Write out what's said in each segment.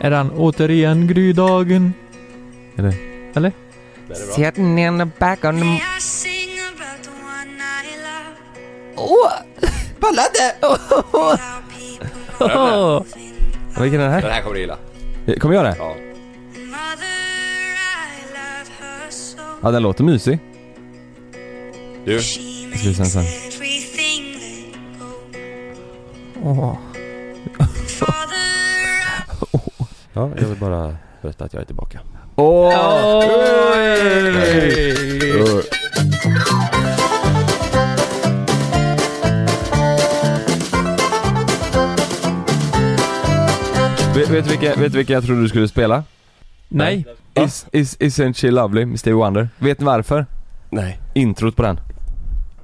Är han återigen grydagen? Det är bra. Sitting in the back Mm. of the... Åh! Balladen! Oh! Vilken är det här? Den här kommer du gilla. Kommer jag det? Ja. Ja, den låter mysig. Du, Ska vi sen sen. Åh. ja, jag vill bara berätta att jag är tillbaka. Åh! Vet, vet, du vilka, vet du vilka jag trodde du skulle spela? Nej. Is, is, isn't she lovely med Stevie Wonder. Vet ni varför? Nej. Introt på den.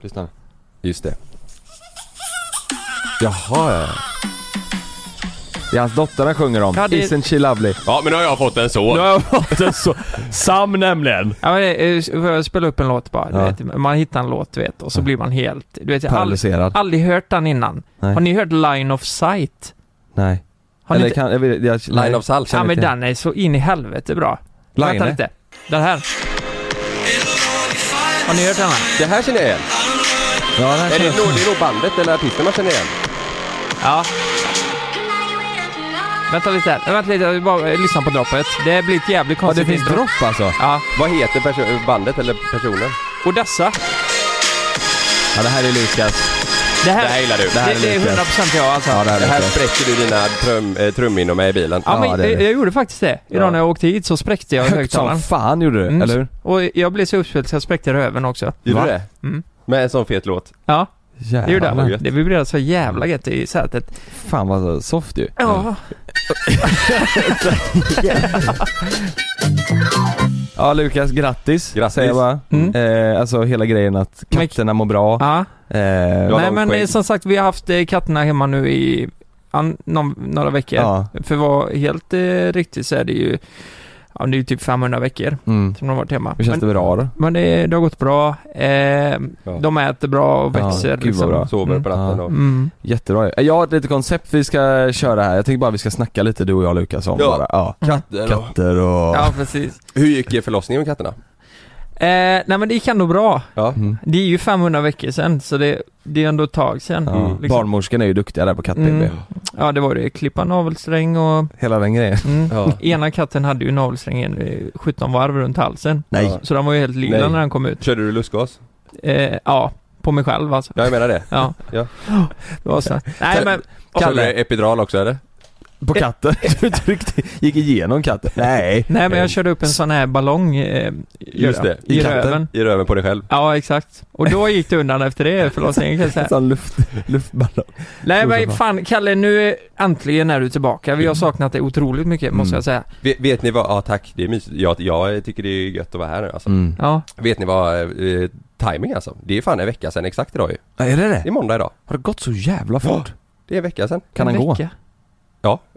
Lyssna nu. Just det. Jaha ja. Det är hans dotter han sjunger om. Ja, det- Isn't she lovely? Ja, men nu har jag fått en Nu son. har jag fått en så... Sam nämligen. Ja, men, eh, får jag spela upp en låt bara? Du Ja. vet, man hittar en låt, du vet, och så blir man helt... Du vet, jag har aldrig, Paralyserad. aldrig hört den innan. Nej. Har ni hört Line of Sight? Nej. Har ni Eller inte... kan, jag, vet- jag, Line of salt. Ja, men till. den är så in i helvete bra. Line, Vänta eh? lite. Den här. Har ni hört den här? Det här känner jag igen. Ja, den här Är det, känner jag- nog- det är nog bandet eller artisten man känner igen. Ja. Vänta lite här. Vänta lite, jag vill bara eh, lyssna på droppet. Det blir ett jävligt ja, konstigt det finns intro. dropp alltså. Ja. Vad heter perso- bandet eller personen? Och dessa. Ja, det här är Lukas. Det här, Det här gillar du. Det här det, det är Lukas. 100% jag alltså. Ja, det här Det är här Lukas. spräcker du dina trum, eh, trumminnor med i bilen. Ja, men Ja, det är jag, det. jag gjorde faktiskt det. Idag Ja. när jag åkte hit så spräckte jag Högt som högtalaren. fan gjorde du, Mm. eller hur? Och jag blev så uppspelt så jag spräckte röven också. Gjorde Va? du det? Mm. Med en sån fet låt. Ja, Jävlar. det gjorde jag. vad Det gött. vibrerade så jävla gött i sätet. Fan vad soft ju. Ja. Ja Lukas, grattis. Grattis. Säger jag bara. Mm. Eh, alltså hela grejen att Men- katterna mår bra. ja. Eh, Du Nej har långt men skägg. eh, som sagt, vi har haft eh, katterna hemma nu i an, någon, några veckor. ja. För att vara helt eh, riktigt så är det ju, ja det är ju typ 500 veckor Mm. som de har varit hemma. Hur känns men det bra då? men det, det har gått bra. Eh, Ja. De äter bra och Ja, växer gud vad liksom. bra. Sover på Mm. natten Ja. och... Mm. Jättebra ju. Jag har ett litet koncept vi ska köra här. Jag tänkte bara vi ska snacka lite du och jag Lukas om Ja. bara. Ja. Katter och... Katter och... Ja, precis. Hur gick förlossningen med katterna? Eh, nej men det gick ändå bra. Ja. Mm. Det är ju 500 veckor sedan, så det, det är ändå ett tag sedan. Ja. Mm. Liksom. Barnmorskan är ju duktiga där på katt Mm. Ja, det var det. Klippa navelsträng och... Hela den grejen. Mm. Ja. Ena katten hade ju navelsträngen eh, 17 varv runt halsen. Nej. Ja. Så den var ju helt lila Nej. när den kom ut. Körde du lustgas? Eh, ja, på mig själv alltså. Ja, jag menar det. Ja. Ja. Det var så. Nej men... Körde du epidural också eller? På katten? Du tryckte, gick igenom katten? Nej. Nej men jag körde upp en sån här ballong eh, Eh. Just det. i, I katten. röven. I röven på dig själv? Ja, exakt. Och då gick det undan efter det förlossningen kan jag säga. En sån luft, luftballong. Nej men fan Kalle, nu är, äntligen är du tillbaka. Mm. Vi har saknat dig otroligt mycket måste Mm. jag säga. Vet, vet ni vad, ja tack, det är mysigt. Jag, jag tycker det är gött att vara här nu alltså. Mm. Ja. Vet ni vad, eh, timing alltså. Det är fan en vecka sedan exakt idag ju. Ja, är det Det är det? måndag idag. Har det gått så jävla fort? Det är en vecka sedan. Kan en han gå? vecka.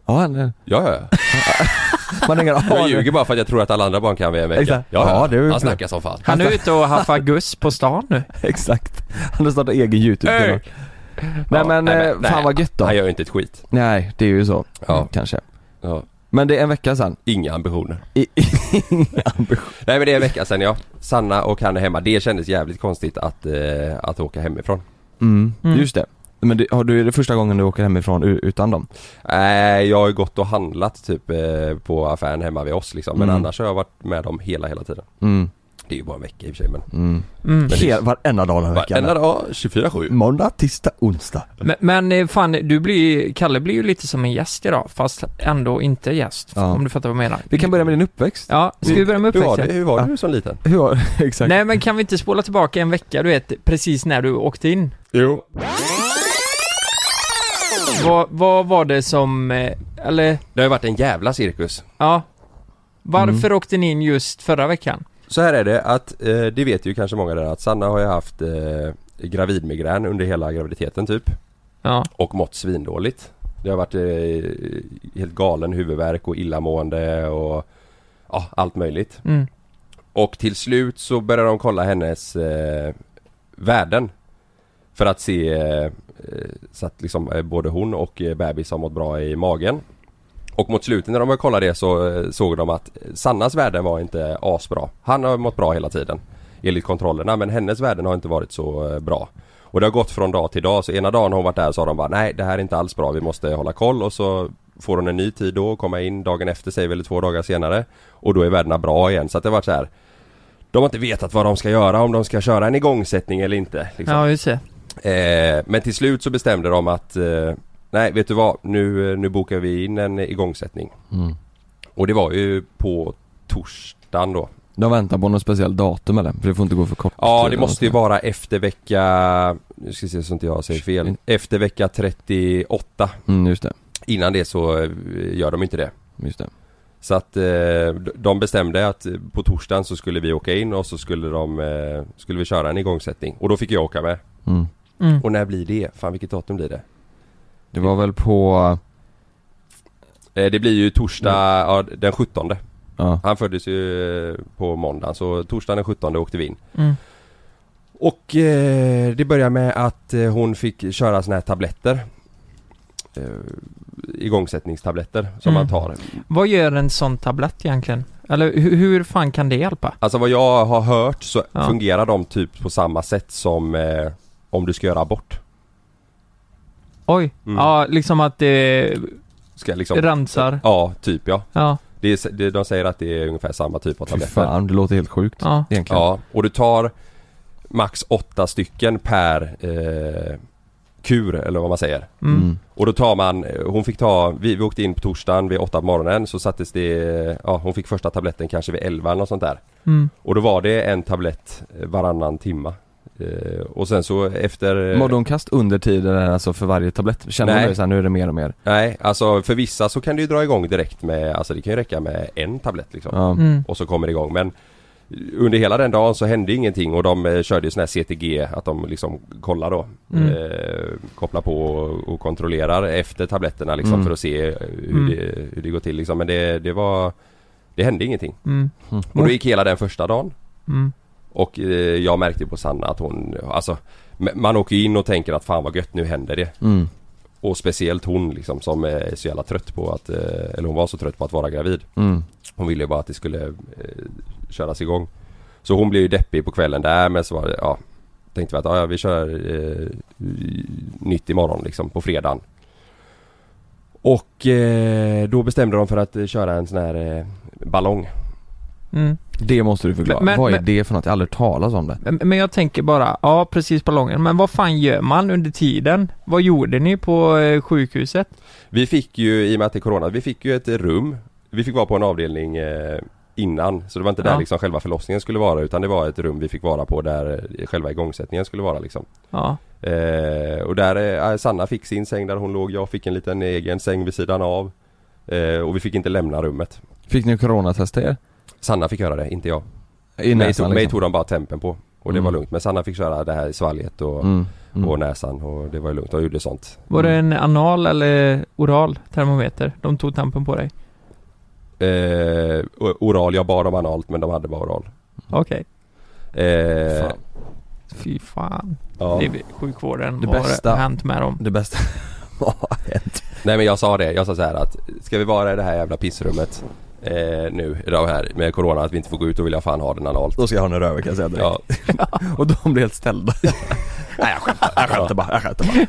Ja, eller? Ja, ja, ja. Man har ingen Jag aning. ljuger bara för att jag tror att alla andra barn kan vara en vecka. Exakt. Ja, Ja, ja. det är ju Han klart. snackar som fan. Han är ute och haffar guss på stan nu. Exakt. Han har startat egen Öh. YouTube-kanal. Nej Ja, men, nej, eh, men- nej. fan vad gött då. Han gör ju inte ett skit. Nej, det är ju så. Ja. Kanske. Ja. Men det är en vecka sedan. Inga ambitioner. I, inga ambitioner. Nej men det är en vecka sedan ja. Sanna och han är hemma. Det kändes jävligt konstigt att, eh, att åka hemifrån. Mm. Mm. Just det. Men det, har du, är det första gången du åker hemifrån u- utan dem? Nej, jag har ju gått och handlat typ eh, på affären hemma vid oss liksom. Men Mm. annars har jag varit med dem hela, hela tiden. Mm. Det är ju bara en vecka i och för sig men. Mm. Mm. Men det- Hel, varenda dag den här veckan. Varenda dag, 24-7. Måndag, tisdag, onsdag. Men, men eh, fan, du blir, Kalle blir ju lite som en gäst idag, fast ändå inte gäst. Ja. Om du fattar vad jag menar. Vi kan börja med din uppväxt. Ja, ska vi börja med Hur var, det, uppväxten? hur var Ja. du som liten? Ja, exakt. Nej men kan vi inte spola tillbaka en vecka, du vet, precis när du åkte in? Jo. Vad, vad var det som, eh, eller, Det har ju varit en jävla cirkus. ja. Varför åkte ni in just förra veckan? Så här är det att, eh, det vet ju kanske många där att Sanna har ju haft eh, gravidmigrän under hela graviditeten typ. Ja. Och mått svindåligt. Det har varit eh, helt galen huvudvärk och illamående och ja, allt möjligt. Mm. Och till slut så började de kolla hennes eh, värden. För att se eh, eh, så att liksom eh, både hon och eh, bebis har mått bra i magen. Och mot slutet när de började kolla det så eh, såg de att Sannas värden var inte asbra. Han har mått bra hela tiden. Enligt kontrollerna men hennes värden har inte varit så eh, bra. Och det har gått från dag till dag så ena dagen har hon varit där så har de bara nej det här är inte alls bra vi måste hålla koll och så Får hon en ny tid då och komma in dagen efter sig eller två dagar senare Och då är värdena bra igen så att det har varit så här. De har inte vetat vad de ska göra om de ska köra en igångsättning eller inte. Liksom. Ja, just det. Eh, men till slut så bestämde de att eh, Nej vet du vad nu, nu bokar vi in en igångsättning Mm. Och det var ju på torsdagen då De väntar på något speciellt datum eller? För det får inte gå för kort Ja tid det eller måste ju något vara efter vecka Nu ska vi se så inte jag säger fel Efter vecka 38 sånt. Mm, just det. Innan det så eh, gör de inte det Just det. Så att eh, de bestämde att på torsdagen så skulle vi åka in och så skulle de eh, Skulle vi köra en igångsättning och då fick jag åka med Mm. Mm. Och när blir det? Fan vilket datum blir det? Det var väl på... Eh, det blir ju torsdag ja, den 17 Ja. Han föddes ju eh, på måndagen så torsdagen den 17 åkte vi in Mm. Och eh, det börjar med att eh, hon fick köra såna här tabletter eh, Igångsättningstabletter som Mm. man tar Vad gör en sån tablett egentligen? Eller hur, hur fan kan det hjälpa? Alltså vad jag har hört så Ja. fungerar de typ på samma sätt som eh, om du ska göra abort Oj, Mm. ja liksom att det Ska liksom rensar. Ja, typ ja Ja, det är, det, De säger att det är ungefär samma typ av Fy tabletter fan, det låter helt sjukt. ja. Egentligen. Ja, och du tar max åtta stycken per eh, kur eller vad man säger Mm. Mm. Och då tar man, eh, hon fick ta, vi, vi åkte in på torsdagen vid åtta på morgonen så sattes det, eh, ja hon fick första tabletten kanske vid elva eller något sånt där. Mm. Och då var det en tablett eh, varannan timma. Eh, och sen så efter... eh, Mådde hon kast under tiden alltså för varje tablett? Känner Nej. hon det så här, nu är det mer och mer? Nej, alltså för vissa så kan det ju dra igång direkt med, alltså det kan ju räcka med en tablett liksom. Ja. Mm. Och så kommer det igång men under hela den dagen så hände ingenting och de eh, körde ju sån här CTG, att de liksom kollar då. Mm. Eh, kopplar på och, och kontrollerar efter tabletterna liksom Mm. för att se eh, hur, Mm. det, hur det går till liksom. Men det, det var... Det hände ingenting. Mm. Och då gick hela den första dagen. Mm. Och eh, jag märkte på Sanna att hon, alltså m- man åker ju in och tänker att fan vad gött, nu händer det. Mm. Och speciellt hon liksom som är så jävla trött på att, eh, eller hon var så trött på att vara gravid. Mm. Hon ville ju bara att det skulle eh, köras igång. Så hon blev ju deppig på kvällen där men så var det, ja Tänkte vi att ja, ja, vi kör eh, nytt imorgon liksom på fredagen. Och eh, då bestämde de för att eh, köra en sån här eh, ballong. Mm. Det måste du förklara. Men- men- Vad är men- det för något? Jag har aldrig hört talas om det. Men- Men jag tänker bara, ja precis ballongen, men vad fan gör man under tiden? Vad gjorde ni på eh, sjukhuset? Vi fick ju, i och med att det är corona, vi fick ju ett rum. Vi fick vara på en avdelning eh, innan. Så det var inte där Ja. liksom själva förlossningen skulle vara utan det var ett rum vi fick vara på där eh, själva igångsättningen skulle vara liksom. Ja, Eh, och där, eh, Sanna fick sin säng där hon låg, jag fick en liten egen säng vid sidan av. Eh, och vi fick inte lämna rummet. Fick ni coronatesta er? Sanna fick göra det, inte jag. I mig, tog, näsan mig liksom? tog de bara tempen på. Och det Mm. var lugnt. Men Sanna fick köra det här i svalget och, Mm. och Mm. näsan och det var ju lugnt. De gjorde sånt. var det en anal eller oral termometer? De tog tampen på dig? Eh, o- oral, jag bad om analt men de hade bara oral. Okej. Eh, Fan. Fy fan. ja. Det är sjukvården Det har bästa. hänt med dem. Det bästa... Vad har hänt? Nej men jag sa det, jag sa så här att ska vi vara i det här jävla pissrummet eh, nu, idag här med corona, att vi inte får gå ut, då vill jag fan ha den analt. Då ska jag ha en över kan jag säga direkt. Ja, Och de blir helt ställda. Nej jag skämtar, jag skämtar bara, jag skämtar bara.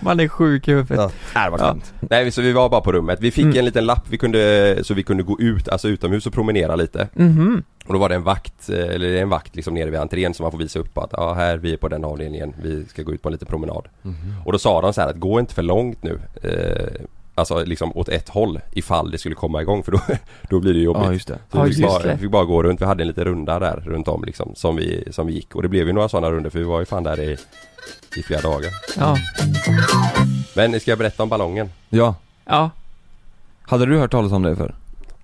Man är sjuk i huvudet. Ja. Nej, det var Ja. skönt. Nej så vi var bara på rummet. Vi fick Mm. en liten lapp vi kunde, så vi kunde gå ut, alltså utomhus och promenera lite. Mhm. Och då var det en vakt, eh, eller det är en vakt liksom nere vid entrén som man får visa upp att ja här, vi är på den avdelningen, vi ska gå ut på en liten promenad. Mhm. Och då sa de så här att gå inte för långt nu. Eh, alltså liksom åt ett håll ifall det skulle komma igång för då, då blir det jobbigt. Ja just det. Så Ja, vi, fick just bara, det. vi fick bara gå runt, vi hade en liten runda där runt om liksom som vi, som vi gick och det blev ju några sådana runder för vi var ju fan där i, i flera dagar. Ja. Men ska jag berätta om ballongen? Ja. Ja. Hade du hört talas om det för?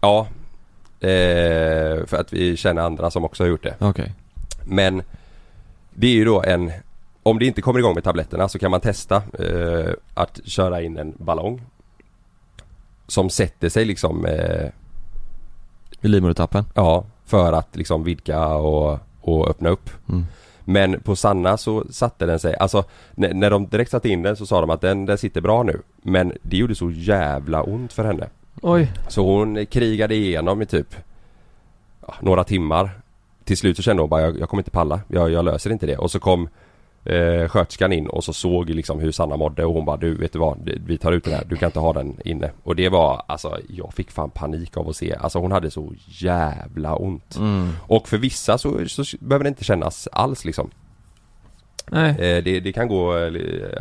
Ja eh, För att vi känner andra som också har gjort det Okej. Men Det är ju då en Om det inte kommer igång med tabletterna så kan man testa eh, Att köra in en ballong Som sätter sig liksom eh, I livmodertappen? Ja För att liksom vidga och, och öppna upp Mm. Men på Sanna så satte den sig, alltså när, när de direkt satte in den så sa de att den, den sitter bra nu Men det gjorde så jävla ont för henne Oj. Så hon krigade igenom i typ ja, några timmar. Till slut så kände hon bara jag, jag kommer inte palla. Jag, jag löser inte det. Och så kom eh, sköterskan in och så såg liksom hur Sanna mådde och hon bara du vet du vad Det- vi tar ut den här. Du kan inte ha den inne. Och det var alltså jag fick fan panik av att se. Alltså hon hade så jävla Mm. ont. Och för vissa så, så behöver det inte kännas alls liksom. Nej. Eh, Det, det kan gå eh,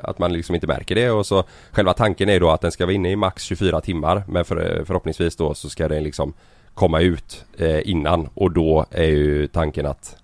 att man liksom inte märker det och så Själva tanken är då att den ska vara inne i max 24 timmar men för, eh, förhoppningsvis då så ska den liksom Komma ut eh, innan och då är ju tanken att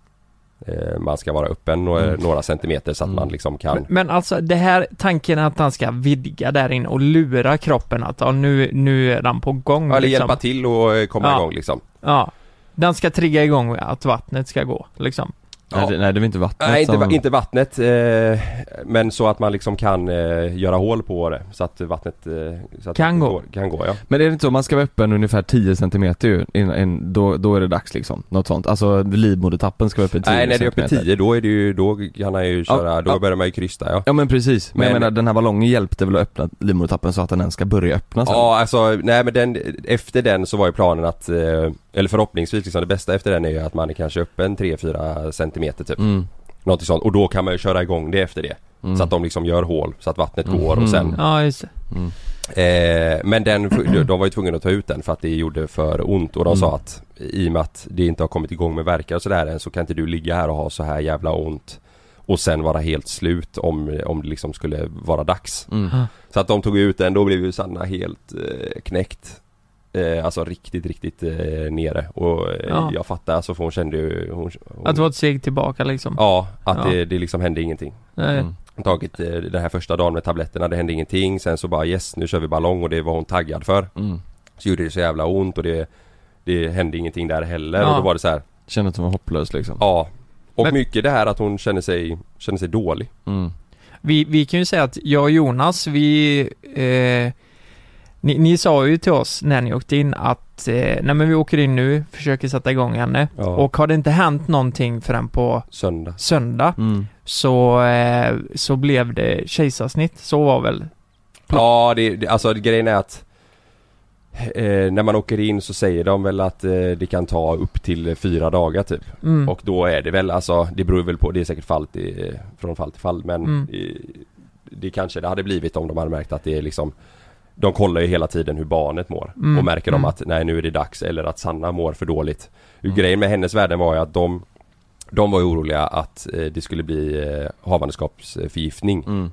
eh, Man ska vara öppen några, Mm. några centimeter så att Mm. man liksom kan Men alltså det här tanken att han ska vidga där inne och lura kroppen att ja, nu, nu är den på gång Eller liksom. hjälpa till och eh, komma Ja. igång liksom Ja. Den ska trigga igång att vattnet ska gå liksom. Nej, det, nej det var inte vattnet Nej inte, som- va- inte vattnet eh, Men så att man liksom kan eh, göra hål på det så att vattnet eh, så att Kan det gå. går- Kan gå ja Men är det inte så, man ska vara öppen ungefär 10 cm ju, innan, in, då, då är det dags liksom, något sånt. Alltså livmodertappen ska vara öppen 10 Nej när det är uppe centimeter. 10 då är det ju, då kan han ju köra, Ja, då ja. börjar man ju krysta ja Ja men precis, men, jag Men- menar den här ballongen hjälpte väl att öppna livmodertappen så att den ens ska börja öppna sen? Ja alltså, nej men den, efter den så var ju planen att, eh, eller förhoppningsvis liksom det bästa efter den är ju att man är kanske öppen 3-4 centimeter typ. Mm. Någonting sånt. Och då kan man ju köra igång det efter det. Mm. Så att de liksom gör hål så att vattnet går Mhm. och sen Ja, just det. mm. eh, Men den, de var ju tvungna att ta ut den för att det gjorde för ont och de Mm. sa att I och med att det inte har kommit igång med verkar och sådär än så kan inte du ligga här och ha så här jävla ont Och sen vara helt slut om, om det liksom skulle vara dags Mm. så att de tog ut den, då blev ju Sanna helt eh, knäckt eh, Alltså riktigt, riktigt eh, nere och eh, Ja. jag fattar alltså för hon kände ju hon, hon, Att det var ett steg tillbaka liksom. Ja, att Ja. Det, det liksom hände ingenting Nej. Mm. Hon Tagit eh, den här första dagen med tabletterna, det hände ingenting sen så bara yes nu kör vi ballong och det var hon taggad för Mm. Så gjorde det så jävla ont och det Det hände ingenting där heller Ja. och då var det så här, Känner att den var hopplös liksom. ja Och Men- mycket det här att hon kände sig, kände sig dålig Mm. Vi, vi kan ju säga att jag och Jonas, vi... Eh, ni, ni sa ju till oss när ni åkte in att eh, nej men vi åker in nu, försöker sätta igång henne. Ja. Och har det inte hänt någonting förrän på Söndag söndag Mm. så, eh, så blev det kejsarsnitt. Så var väl? Ja, det, det, alltså det- grejen är att eh, när man åker in så säger de väl att eh, det kan ta upp till eh, fyra dagar typ. Mm. Och då är det väl alltså, det beror väl på, det är säkert fall till, eh, från fall till fall men Mm. eh, det kanske det hade blivit om de hade märkt att det är liksom de kollar ju hela tiden hur barnet mår Mm, och märker mm. de att nej nu är det dags eller att Sanna mår för dåligt. Mm. Grejen med hennes värden var ju att de De var ju oroliga att eh, det skulle bli eh, havandeskapsförgiftning Mm.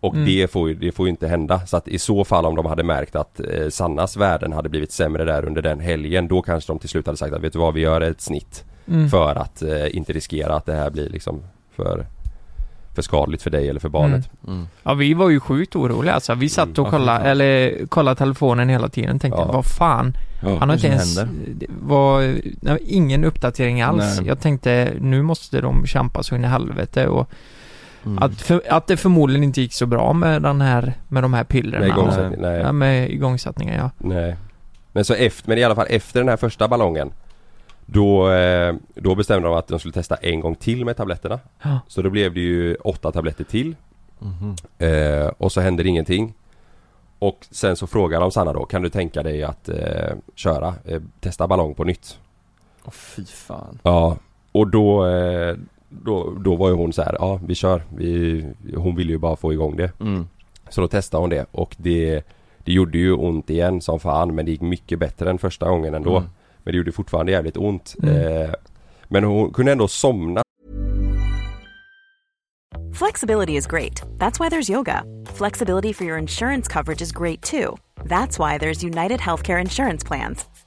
och Mm. det, får ju, det får ju inte hända. Så att i så fall om de hade märkt att eh, Sannas värden hade blivit sämre där under den helgen. Då kanske de till slut hade sagt att vet du vad, vi gör ett snitt. Mm. För att eh, inte riskera att det här blir liksom för, för skadligt för dig eller för barnet. Mm. Ja, vi var ju sjukt oroliga alltså. Vi satt Mm, och ja, fy kollade, fan. eller kollade telefonen hela tiden tänkte Ja. vad fan Han har Vad inte som ens, händer? det var, nej, ingen uppdatering alls. Nej. Jag tänkte nu måste de kämpa så in i helvete och Mm. att, för, att det förmodligen inte gick så bra med den här, med de här Med pillerna. igångsätt- igångsättning? Nej. Mm. ja, med igångsättningen ja. Nej. Men så efter, men i alla fall efter den här första ballongen. Då, eh, då bestämde de att de skulle testa en gång till med tabletterna. Ja. Så då blev det ju åtta tabletter till. Mhm. Eh, och så händer ingenting. Och sen så frågar de Sanna då, kan du tänka dig att eh, köra, eh, testa ballong på nytt? Åh, fy fan. Ja. Och då, eh, då, då var ju hon så här, ja vi kör. Vi, hon ville ju bara få igång det. Mm. Så då testade hon det och det, det gjorde ju ont igen som fan men det gick mycket bättre än första gången ändå. Mm. Men det gjorde fortfarande jävligt ont. Mm. Eh, men hon kunde ändå somna Flexibility is great. That's why there's yoga. Flexibility for your insurance coverage is great too. That's why there's United Healthcare Insurance Plans.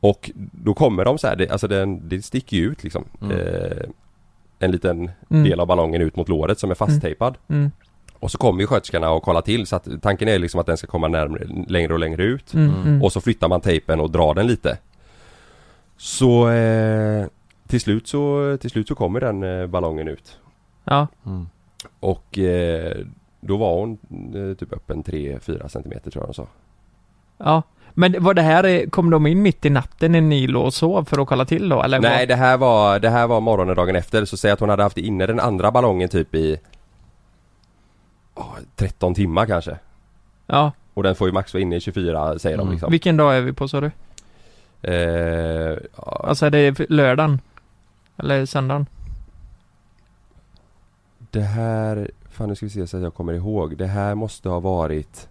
Och då kommer de så här, det, alltså den, det sticker ju ut liksom Mm. eh, En liten Mm. del av ballongen ut mot låret som är fasttejpad Mm. Och så kommer ju sköterskorna och kollar till så att tanken är liksom att den ska komma närmare, längre och längre ut Mm. Mm. Mm. Och så flyttar man tejpen och drar den lite Så eh, till, slut så till slut så kommer den eh, ballongen ut Ja. Mm. Och eh, då var hon eh, typ öppen 3-4 centimeter tror jag de sa Ja. Men var det här, eh, kom de in mitt i natten när ni låg och sov för att kolla till då eller? Nej det här var, det här var morgonen dagen efter så säg att hon hade haft inne den andra ballongen typ i ja, 13 timmar kanske Ja. Och den får ju max vara inne i 24 säger de Mm. liksom Vilken dag är vi på sa du? eh, ja, Alltså är det f- lördagen? Eller söndagen? Det här, fan nu ska vi se så att jag kommer ihåg Det här måste ha varit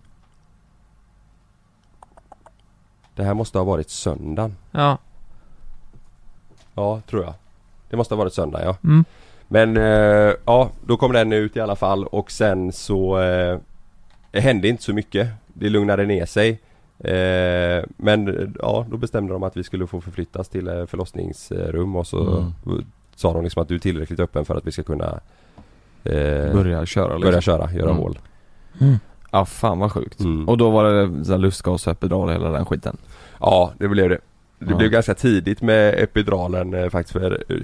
Det här måste ha varit söndagen Ja. Ja tror jag Det måste ha varit söndag ja Mm. Men eh, ja, då kom den ut i alla fall och sen så eh, Det hände inte så mycket Det lugnade ner sig eh, Men eh, ja, då bestämde de att vi skulle få förflyttas till eh, förlossningsrum och så Mm. Sa de liksom att du är tillräckligt öppen för att vi ska kunna eh, Börja, Börja köra liksom. köra, göra Mm. hål Ja fan vad sjukt. Mm. Och då var det så här lustgas och epidural och hela den skiten. Ja, det blev det det Ja. blev ganska tidigt med epiduralen eh, faktiskt för eh,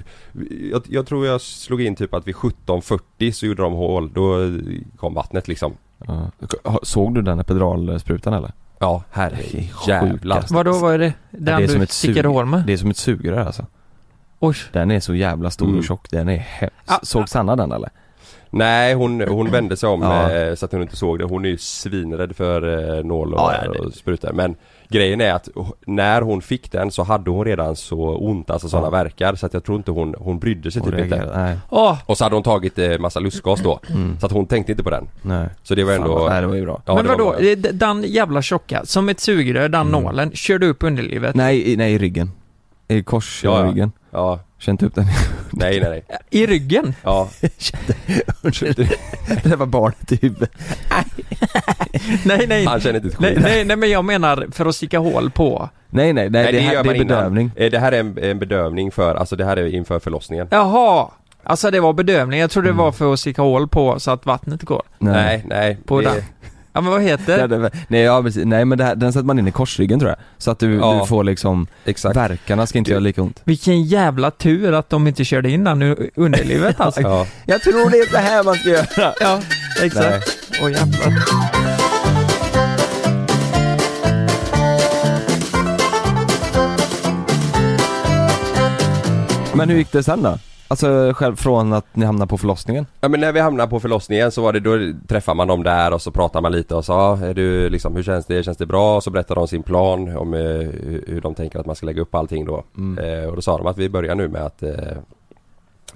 jag, jag tror jag slog in typ att vid 17.40 så gjorde de hål, då eh, kom vattnet liksom Ja. Ha- Såg du den epiduralsprutan eller? Ja, Det är herre sjukt, jävlar. alltså. Vadå vad är det? Den det är som du ett sug. stickade hål med? Det är som ett sugrör alltså. Oj. Den är så jävla stor Mm. och tjock, den är hemsk. Ah, Såg Sanna den eller? Nej hon, hon vände sig om Ja. eh, så att hon inte såg det. Hon är ju svinrädd för eh, nål och, Ja, ja, det- och sprutor. Men grejen är att h- när hon fick den så hade hon redan så ont, alltså sådana Ja. verkar Så att jag tror inte hon, hon brydde sig Och typ inte. reagerade- Nej, Åh! Och så hade hon tagit eh, massa lustgas då. Mm. Så att hon tänkte inte på den. nej. Så det var Fan, ändå... vad- nej det var ju bra. ja, men det var vadå? bra. Eh, d- Den jävla tjocka, som ett sugrör, den Mm. nålen, kör du upp underlivet? Nej, i- nej i ryggen. I kors Ja, i ja. ryggen. Ja, Känn inte upp den. nej nej nej. I ryggen? Ja, det var barnet i huvudet. nej, nej. han känner inte ett Alltså, skit. Nej, nej, nej men jag menar för att sticka hål på. Nej nej, nej, det, här, det är innan. bedövning. Eh, Det här är en, en bedövning för, alltså det här är inför förlossningen. Jaha! Alltså det var bedövning, jag trodde det var för att sticka hål på så att vattnet går. Nej, nej. På det- den. Ja men vad heter Det, det? det, nej, ja, precis. nej men det här, den sätter man in i korsryggen tror jag. Så att du, Ja. du får liksom, Exakt. verkarna ska inte göra lika ont. Vilken jävla tur att de inte körde in den i underlivet alltså. Ja. Jag tror det är så här man ska göra. Ja, exakt. Åh jävlar. Men hur gick det sen då? Alltså själv från att ni hamnade på förlossningen? Ja men när vi hamnade på förlossningen så var det då träffar man dem där och så pratar man lite och sa är du liksom hur känns det, känns det bra? Och så berättar de sin plan om eh, hur hur de tänker att man ska lägga upp allting då. Mm. Eh, och då sa de att vi börjar nu med att eh,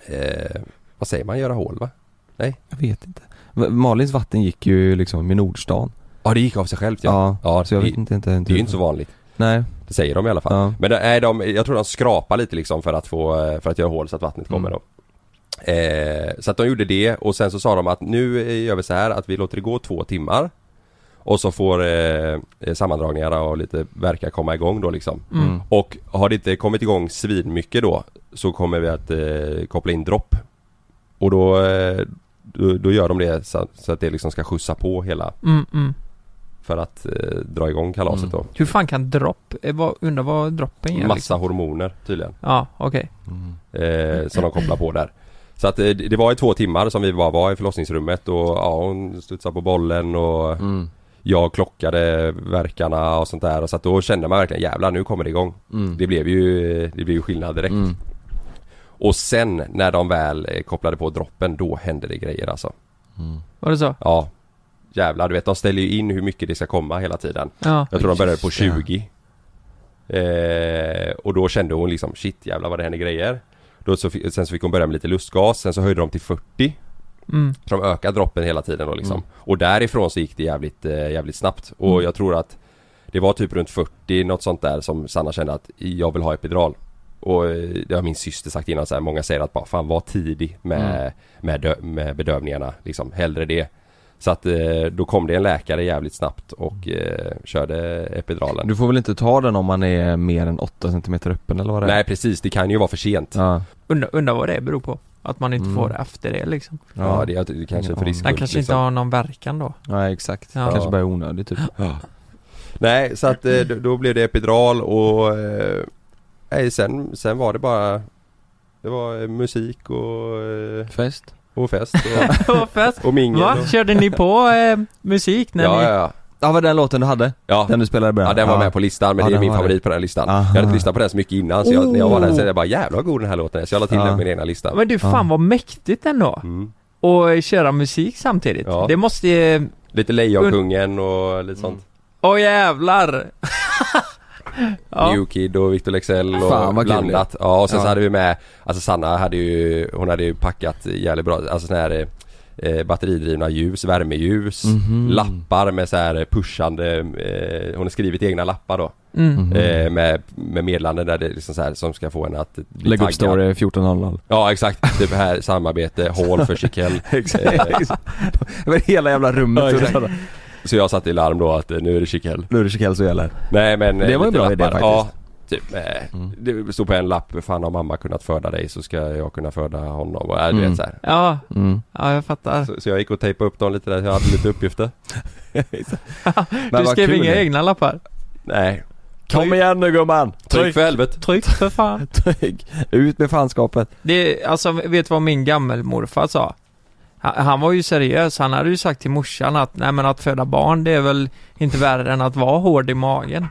eh, vad säger man, göra hål va? Jag vet inte. V- Malins vatten gick ju liksom i Nordstan. Ja det gick av sig självt ja. Ja, ja så jag det, vet inte, inte, det är ju inte så vanligt. Nej, Det säger de i alla fall. ja. Men de- nej, de, jag tror de skrapar lite liksom för att få, eh, för att göra hål så att vattnet kommer Mm. då. Eh, så att de gjorde det och sen så sa de att nu eh, gör vi så här att vi låter det gå två timmar Och så får eh, eh, sammandragningarna och lite verkar komma igång då liksom Mm. Och har det inte kommit igång svinmycket då Så kommer vi att eh, koppla in dropp Och då, eh, då, då gör de det så, att- så att det liksom ska skjutsa på hela Mm, mm. För att eh, dra igång kalaset Mm. då Hur fan kan dropp, eh, vad, undrar vad droppen är? Massa liksom? hormoner tydligen Ja, okej. Mm. eh, som de kopplar på där. Så att eh, det det var i två timmar som vi bara var i förlossningsrummet och ja, hon studsade på bollen och Mm. jag klockade verkarna och sånt där. Så att då kände man verkligen jävlar nu kommer det igång. Mm. Det blev ju, det blev ju skillnad direkt. Mm. Och sen när de väl eh, kopplade på droppen då hände det grejer alltså. Mm. Var det så? Ja Jävlar du vet de ställer ju in hur mycket det ska komma hela tiden Ja. Jag tror de började på Just det. 20 eh, Och då kände hon liksom shit jävlar vad det händer grejer då så, fi- Sen så fick hon börja med lite lustgas, sen så höjde de till 40 Mm. Så de ökade droppen hela tiden då liksom. Mm. Och därifrån så gick det jävligt, eh, jävligt snabbt. Och Mm. jag tror att det var typ runt 40, något sånt där som Sanna kände att jag vill ha epidural. Och eh, det har min syster sagt innan så här, många säger att bara fan var tidig med, Mm. med, dö- med bedövningarna liksom, hellre det. Så att eh, då kom det en läkare jävligt snabbt och eh, körde epiduralen. Du får väl inte ta den om man är mer än 8 cm öppen eller vad det är? Nej precis, det kan ju vara för sent. Ja, Ja, Undrar undra vad det beror på. Att man inte Mm. får det efter det liksom. ja, det, är- det kanske är för Den riskfullt. Den kanske inte liksom. har någon verkan då. ja exakt. Ja. Kanske bara är onödig typ. Nej, så att eh, då- då blev det epidural och eh, nej, sen, sen var det bara Det var eh, musik och, eh, Fest? och fest och, Vad fett! och mingel Va? och, Körde ni på eh, musik när ja, ni... ja, ja. Ja, var den låten du hade? Ja. Den du spelade i början? ja, den var med på listan men Ja, det är den min var det. favorit på den här listan Aha. Jag hade inte lyssnat på den så mycket innan så jag, när jag var där så Oh. jag bara jävlar vad god den här låten är så jag la till Ja. den på min egna lista Men du, fan vad mäktigt ändå! mm. Och köra musik samtidigt. Ja. Det måste ju... Lite Lejonkungen och Mm. lite sånt Åh jävlar! ja. New Kid och Victor Lexell och Fan, vad kul blandat. Ja och sen så Ja. hade vi med, alltså Sanna hade ju, hon hade ju packat jävligt bra, alltså sån här eh, batteridrivna ljus, värmeljus, Mhm. lappar med så här pushande, eh, hon har skrivit egna lappar då. Mm. Mhm. Eh, med, med meddelanden där det är liksom så här som ska få henne att bli Lägg upp taggad. story 14.00 Ja exakt, typ här samarbete, hål för Chiquel. Eh, Över hela jävla rummet Ja, och så jag satte i larm då att eh, nu är det Chiquel. Nu är det Chiquel som gäller Nej men eh, Det var en lite bra idé Ja, faktiskt. Mm. typ, eh, Det stod på en lapp, fan har mamma kunnat föda dig så ska jag kunna föda honom och, äh, du Mm. vet, så, här. Ja, Mm. ja jag fattar. Så, så jag gick och tejpade upp dem lite där, jag hade lite uppgifter du vad skrev kul inga det. egna lappar? Nej, Kom igen nu gumman! tryck för helvete! Tryck för fan! Tryck! Ut med fanskapet! Det, alltså vet du vad min gammelmorfar sa? Han, han var ju seriös, han hade ju sagt till morsan att nej men att föda barn det är väl inte värre än att vara hård i magen.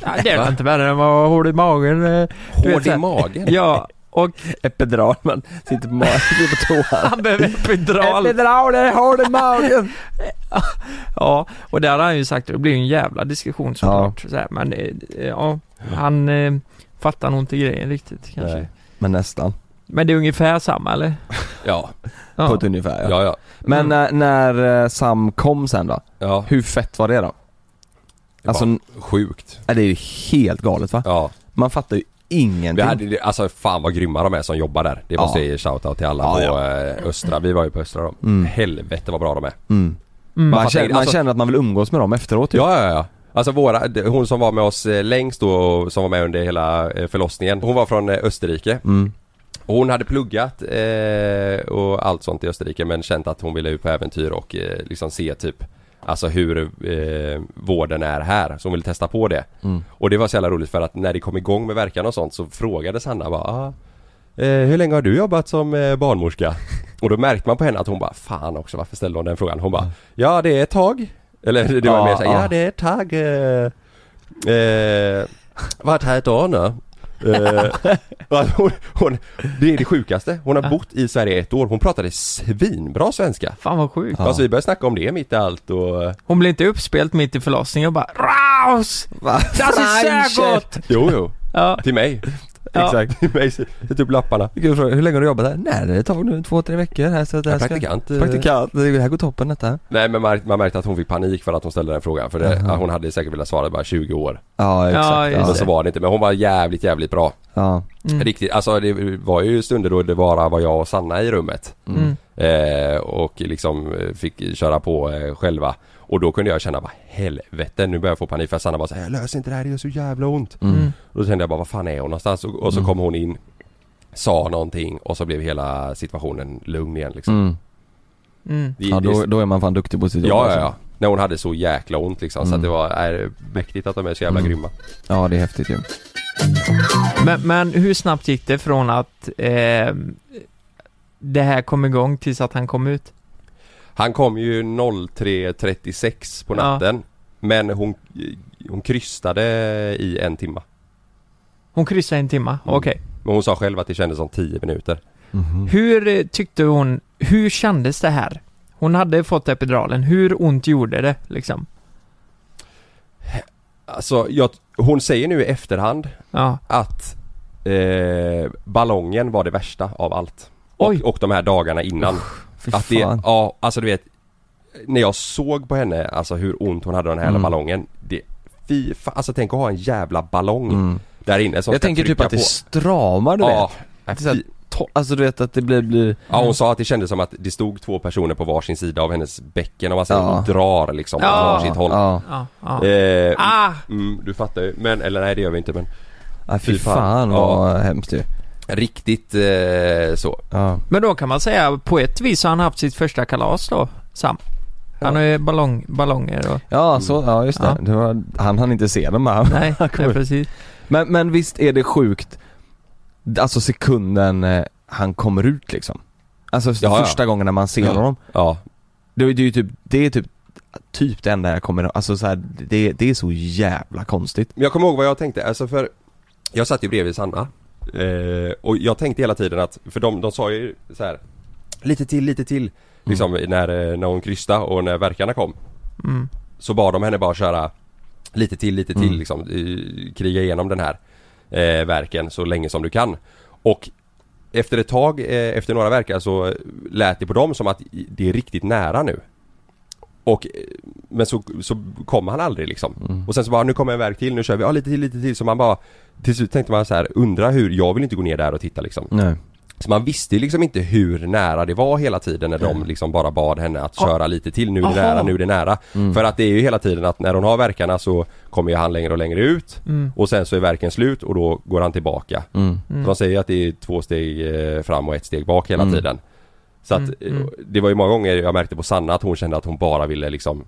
ja, det är väl inte värre än att vara hård i magen. eh. Du vet Hård så i här- magen! Ja, och Epidural man sitter på magen, sitter på toan han behöver epidural. Epidural, det håller i magen! Ja, och där har han ju sagt, det blir ju en jävla diskussion såklart. Så här, men eh, ja, han eh, fattar nog inte grejen riktigt kanske. Nej. Men nästan, Men det är ungefär samma eller? Ja, på Ja. ett ungefär ja. ja, Mm. ja, Men när, när eh, Sam kom sen då? ja. Hur fett var det då? Det Alltså, var Sjukt! ja, det är ju helt galet va? Ja, Man fattar ju vi ingenting hade, det- alltså fan vad grymma de är som jobbar där. Det Ja. måste jag ge shoutout till alla Ja, på ja. eh, Östra, vi var ju på Östra då. Mm. Helvete vad bra de är. mm. Mm. Man, fattar känner, inte, man alltså- känner att man vill umgås med dem efteråt typ. ju. Ja, ja, ja. Alltså våra, d- hon som var med oss eh, längst då, och som var med under hela eh, förlossningen. Hon var från eh, Österrike. Mm. Och hon hade pluggat eh, och allt sånt i Österrike men känt att hon ville ut på äventyr och eh, liksom se typ Alltså hur eh, vården är här, så hon ville testa på det. Mm. Och det var så jävla roligt för att när det kom igång med verkan och sånt så frågade Sanna bara ah, eh, Hur länge har du jobbat som eh, barnmorska? Och då märkte man på henne att hon bara Fan också varför ställde hon den frågan? Hon bara Ja det är ett tag Eller det var Ja, mer såhär ja. Ja det är ett tag eh, eh, Varit här ett år nu eh, och att hon, hon, Det är det sjukaste, hon har bott i Sverige ett år, hon pratade svinbra svenska Fan vad sjukt. Ja. Alltså vi började snacka om det mitt i allt och eh, Hon blev inte uppspelt mitt i förlossningen och bara Raus! Das ist sehr gott! Jo jo, Ja, till mig Ja. Exakt, till mig, sätt upp lapparna Gud, fråga, hur länge har du jobbat här? Nej det är ett tag nu, två, tre veckor här så att det här Jag är ska... praktikant eh, Praktikant, det här går toppen detta Nej men man, man märkte att hon fick panik för att hon ställde den frågan för det, Jaha. hon hade säkert velat svara bara 20 år Ja Ja, exakt, just Men ja, så det. var det inte, men hon var jävligt jävligt bra ja. Mm. Riktigt, alltså det var ju stunder då det bara var jag och Sanna i rummet mm. eh, Och liksom eh, fick köra på eh, själva Och då kunde jag känna bara helvete nu börjar jag få panik för Sanna var såhär Jag löser inte det här, det gör så jävla ont Mm. Mm. Och Då kände jag bara vad fan är hon någonstans? Och, och så kom hon in Sa någonting och så blev hela situationen lugn igen liksom Mm. Mm. Det- ja det- då, då är man fan duktig på sitt jobb Ja, ja, alltså. ja. När hon hade så jäkla ont liksom. Så Mm. att det var är, mäktigt att de är så jävla Mm. grymma. ja det är häftigt ju Men, men hur snabbt gick det från att eh, det här kom igång tills att han kom ut? Han kom ju 03.36 på Ja. natten. Men hon, hon krystade i en timma. Hon kryssade en timma, okej. Men hon sa själv att det kändes som 10 minuter. Mhm. Hur eh, tyckte hon, hur kändes det här? Hon hade fått epiduralen, hur ont gjorde det liksom? Alltså, jag, hon säger nu i efterhand Ja, att eh, ballongen var det värsta av allt. Oj. Och, och de här dagarna innan. Fy Att det, fan. ja, alltså du vet När jag såg på henne, alltså hur ont hon hade av den här jävla Mm. ballongen det, Fy fan, alltså tänk att ha en jävla ballong Mm. där inne som Jag ska tänker typ trycka att det på. stramar du ja, vet. ja, Det är så här fy- to- Alltså du vet att det blir, blir ja, hon sa att det kändes som att det stod två personer på varsin sida av hennes bäcken om man säger Ja. hon drar liksom Ja. på varsitt håll Ja, ja, ja. eh, Ah! mm, Du fattar ju, men eller nej det gör vi inte men ja fy Fy fan. fan vad hemskt ju Riktigt eh, så ja. Men då kan man säga på ett vis har han haft sitt första kalas då, Sam. Han har ju ballong, ballonger och... ja, så, ja just det. Ja. det var, han hann inte se dem här Nej, nej Kommer. precis. men, men visst är det sjukt, alltså sekunden eh, han kommer ut liksom Alltså ja. första gången när man ser Ja. honom Ja, Det är det är ju typ, det är typ, typ det enda jag kommer alltså så här, det, det är så jävla konstigt Men jag kommer ihåg vad jag tänkte, alltså för Jag satt ju bredvid Sanna eh, Och jag tänkte hela tiden att, för de, de sa ju så här Lite till, lite till Liksom när, eh, när hon krysta och när verkarna kom Mm. Så bad de henne bara köra Lite till, lite till Mm. liksom eh, Kriga igenom den här eh, verken så länge som du kan Och efter ett tag, eh, efter några verkar så lät det på dem som att det är riktigt nära nu och, eh, men så, så kom han aldrig liksom. Och sen så bara, nu kommer en verk till, nu kör vi, ja lite till, lite till. Så man bara, till slut tänkte man så här, undra hur, jag vill inte gå ner där och titta liksom. Nej Så man visste ju liksom inte hur nära det var hela tiden när de liksom bara bad henne att köra lite till, nu är det Ah. Aha. Mm. nära, nu är det nära. För att det är ju hela tiden att när hon har verkarna så kommer ju han längre och längre ut. Mm. Och sen så är verken slut och då går han tillbaka. mm. Så de säger ju att det är två steg eh, fram och ett steg bak hela Mm. tiden. Så att Mm, eh, mm. det var ju många gånger jag märkte på Sanna att hon kände att hon bara ville liksom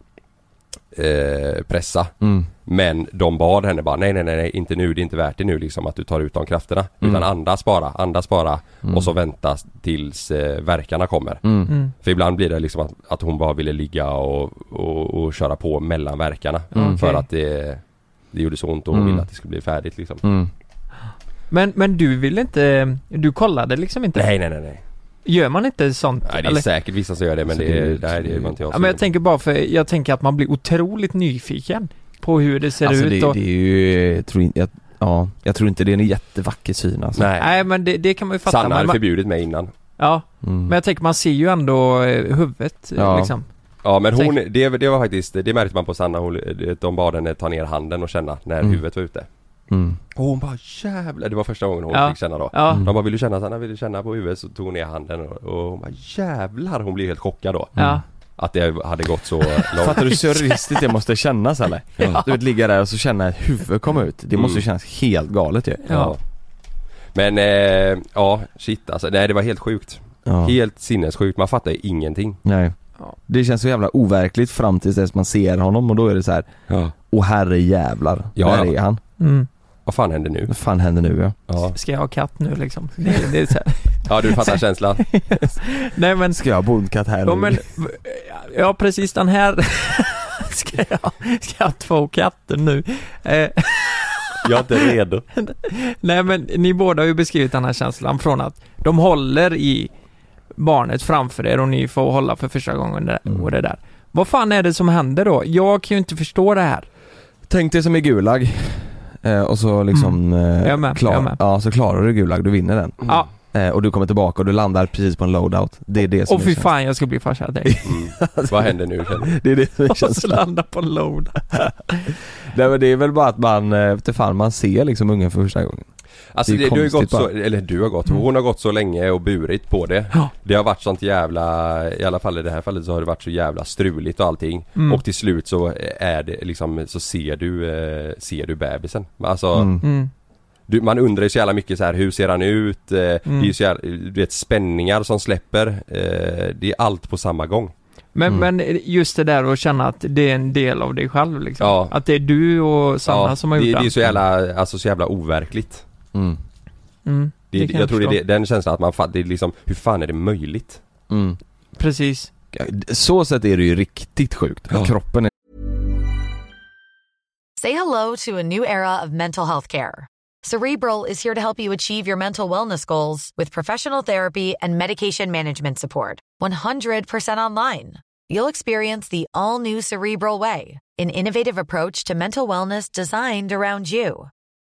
eh, pressa. Mm. Men de bad henne bara nej nej nej nej, inte nu, det är inte värt det nu liksom att du tar ut de krafterna. Mm. Utan andas bara, andas bara Mm. och så vänta tills eh, verkarna kommer. Mm. Mm. För ibland blir det liksom att, att hon bara ville ligga och, och, och köra på mellan verkarna Mm. För Okej. att det, det gjorde så ont och hon Mm. ville att det skulle bli färdigt liksom. Mm. Men, men du ville inte, du kollade liksom inte? Nej nej nej nej. Gör man inte sånt? Nej det är eller? Alltså, säkert vissa som gör det men Så det, det- det, nej, det var inte jag Ja, som men gjorde. jag tänker bara för, jag tänker att man blir otroligt nyfiken på hur det ser Alltså ut det, och... det är ju, jag tror, in- jag, ja, jag tror inte det är en jättevacker syn alltså Nej, Nej men det, det kan man ju fatta. Sanna men, hade man, förbjudit mig innan ja, Mm. men jag tänker man ser ju ändå eh, huvudet eh, Ja. liksom. Ja men hon, Tänk- det, det var faktiskt, det märkte man på Sanna, hon, de bad henne ta ner handen och känna när Mm. huvudet var ute Mm. Och hon bara jävlar, det var första gången hon Ja. fick känna då Ja, Mm. De bara vill du känna Sanna, vill du känna på huvudet? Så tog hon ner handen och, och hon bara jävlar, hon blev helt chockad då ja. Att det hade gått så långt Fattar du hur surrealistiskt det måste kännas eller? Ja. Du vet ligga där och så känna ett huvud komma ut, det måste ju Mm. kännas helt galet ju Ja. Men eh, ja, shit alltså, nej det var helt sjukt Ja. Helt sinnessjukt, man fattar ju ingenting Nej Ja. Det känns så jävla overkligt fram tills dess man ser honom och då är det så här, ja. åh herre jävlar, Ja, där ja. är han? Mm. Vad fan händer nu? Vad fan händer nu ja? Ja, Ska jag ha katt nu liksom? Det, det är så här. ja du fattar känslan? Nej men, Ska jag ha bondkatt här ja, nu? men, ja precis den här ska jag, ska jag få katter nu? Eh, Jag är inte redo nej men ni båda har ju beskrivit den här känslan från att de håller i barnet framför er och ni får hålla för första gången det, Mm. och det där. Vad fan är det som händer då? Jag kan ju inte förstå det här. Tänk dig som är Gulag eh, och så liksom eh, Jag med, klar, jag med. Ja, så klarar du Gulag, du vinner Mm. den Ja, eh, och du kommer tillbaka och du landar precis på en loadout Det är det som och är fy känslan. fan jag ska bli farsa till dig. Mm. Vad händer nu? känner du? Det är det som är Och så känslan landa på en load. Nej men det är väl bara att man, eh, vet du fan, man ser liksom ungen för första gången Alltså Det är det ju du har ju gått konstigt så, bara. eller du har gått, Mm. hon har gått så länge och burit på det Ja. Det har varit sånt jävla, i alla fall i det här fallet så har det varit så jävla struligt och allting Mm. Och till slut så är det liksom, så ser du, eh, ser du bebisen Alltså, Mm. Mm. du, man undrar ju så jävla mycket så här, hur ser han ut? Eh, Mm. Det är ju så jävla, du vet spänningar som släpper eh, Det är allt på samma gång Men, Mm. men just det där att känna att det är en del av dig själv liksom. Ja. Att det är du och Sanna Ja, som har det, gjort Mm. det är den. så jävla, alltså så jävla overkligt Mm. Mm, det, det kan Jag tror det är förstå. det- den känslan att man, fa- det är liksom, hur fan är det möjligt? Mm. Precis. Så sätt är det ju riktigt sjukt, Ja. kroppen Say hello to a new era of mental health care. Cerebral is here to help you achieve your mental wellness goals with professional therapy and medication management support. 100% online. You'll experience the all new Cerebral Way, an innovative approach to mental wellness designed around you.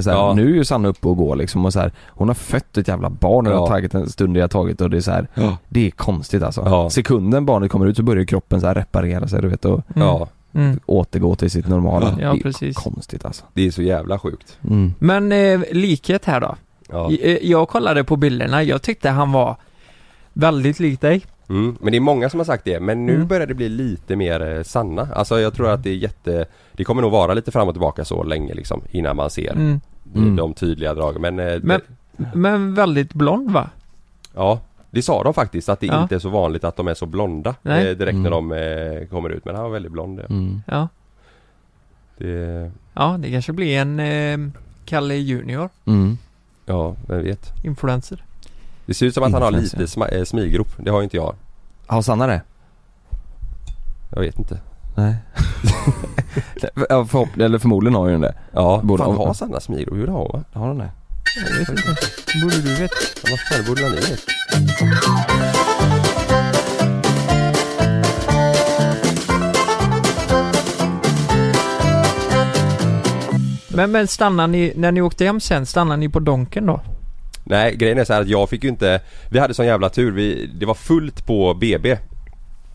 Så här, Ja. Nu är ju Sanna uppe och går liksom och så här, hon har fött ett jävla barn och det har Ja. tagit en stund det har tagit och det är så här, Ja. Det är konstigt alltså. Ja. Sekunden barnet kommer ut så börjar kroppen så här reparera sig du vet och Mm. Ja, Mm. återgå till sitt normala. Ja, det är precis. konstigt alltså. det är så jävla sjukt. Mm. Men eh, likhet här då. Ja. J- eh, Jag kollade på bilderna, jag tyckte han var väldigt lik dig. Mm. Men det är många som har sagt det, men nu Mm. börjar det bli lite mer eh, sanna. Alltså jag tror att det är jätte... Det kommer nog vara lite fram och tillbaka så länge liksom innan man ser Mm. de- Mm. de tydliga dragen. Men, eh, Men- Det, Men väldigt blond va? ja, det sa de faktiskt att det Ja. inte är så vanligt att de är så blonda Nej. eh, direkt när Mm. de eh, kommer ut. Men han var väldigt blond. Ja. Mm. Ja. Det, Ja, det kanske blir en eh, Kalle Junior, Mm. ja, vem vet. influencer. Det ser ut som att han har lite Influencer. sma- eh, smilgrop. Det har ju inte jag. Har Sanna det? Jag vet inte. Nej. ja, förhopp- eller förmodligen har ju den det. Ja, Borde fan ha- har Sanna smilgrop? Jo det har hon va? Har hon det? Jag vet inte. Borde du veta? Ja, Vad fan borde han ha det? Men, men stannar ni, när ni åkte hem sen, stannar ni på Donken då? Nej grejen är så här att jag fick ju inte Vi hade sån jävla tur, vi, det var fullt på BB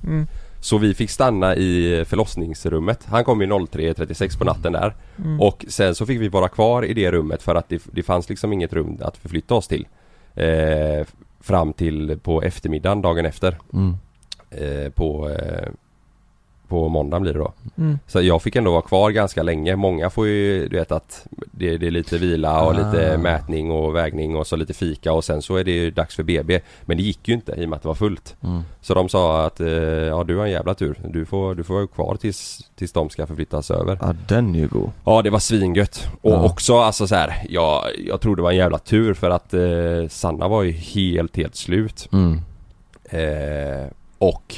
Mm. Så vi fick stanna i förlossningsrummet Han kom ju 03.36 på natten där Mm. Och sen så fick vi vara kvar i det rummet för att det, det fanns liksom inget rum att förflytta oss till eh, Fram till på eftermiddagen dagen efter Mm. eh, På eh, På måndag blir det då Mm. Så jag fick ändå vara kvar ganska länge. Många får ju, du vet att det, det är lite vila och Ah. lite mätning och vägning och så lite fika och sen så är det ju dags för BB. Men det gick ju inte i och med att det var fullt. Mm. Så de sa att eh, ja du har en jävla tur. Du får, du får vara kvar tills, tills de ska förflyttas över. Ja den är ju god. Ja det var svingött. Och Ja. också alltså så här, jag, jag tror det var en jävla tur för att eh, Sanna var ju helt, helt slut. Mm. Eh, och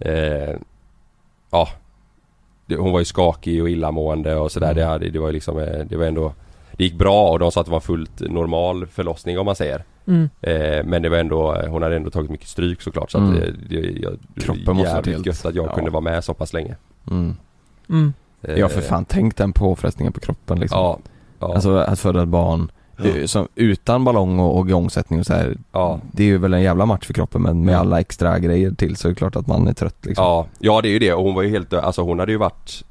eh, Ja det, Hon var ju skakig och illamående och sådär. Mm. Det, hade- det var ju liksom eh, Det var ändå Det gick bra och de sa att det var en fullt normal förlossning om man säger. Mm. Eh, men det var ändå Hon hade ändå tagit mycket stryk såklart så att Mm. eh, det, jag, det Kroppen var måste varit jävligt helt- gött att jag ja. kunde vara med så pass länge. Mm. Mm. Eh, Ja för fan, tänk den påfrestningen på kroppen liksom. Ja, ja, Alltså att föda ett barn eh, som, utan ballong och, och igångsättning och så här. ja. Det är ju väl en jävla match för kroppen men med Ja. alla extra grejer till så är det klart att man är trött liksom. Ja, ja det är ju det och hon var ju helt dö- Alltså hon hade ju varit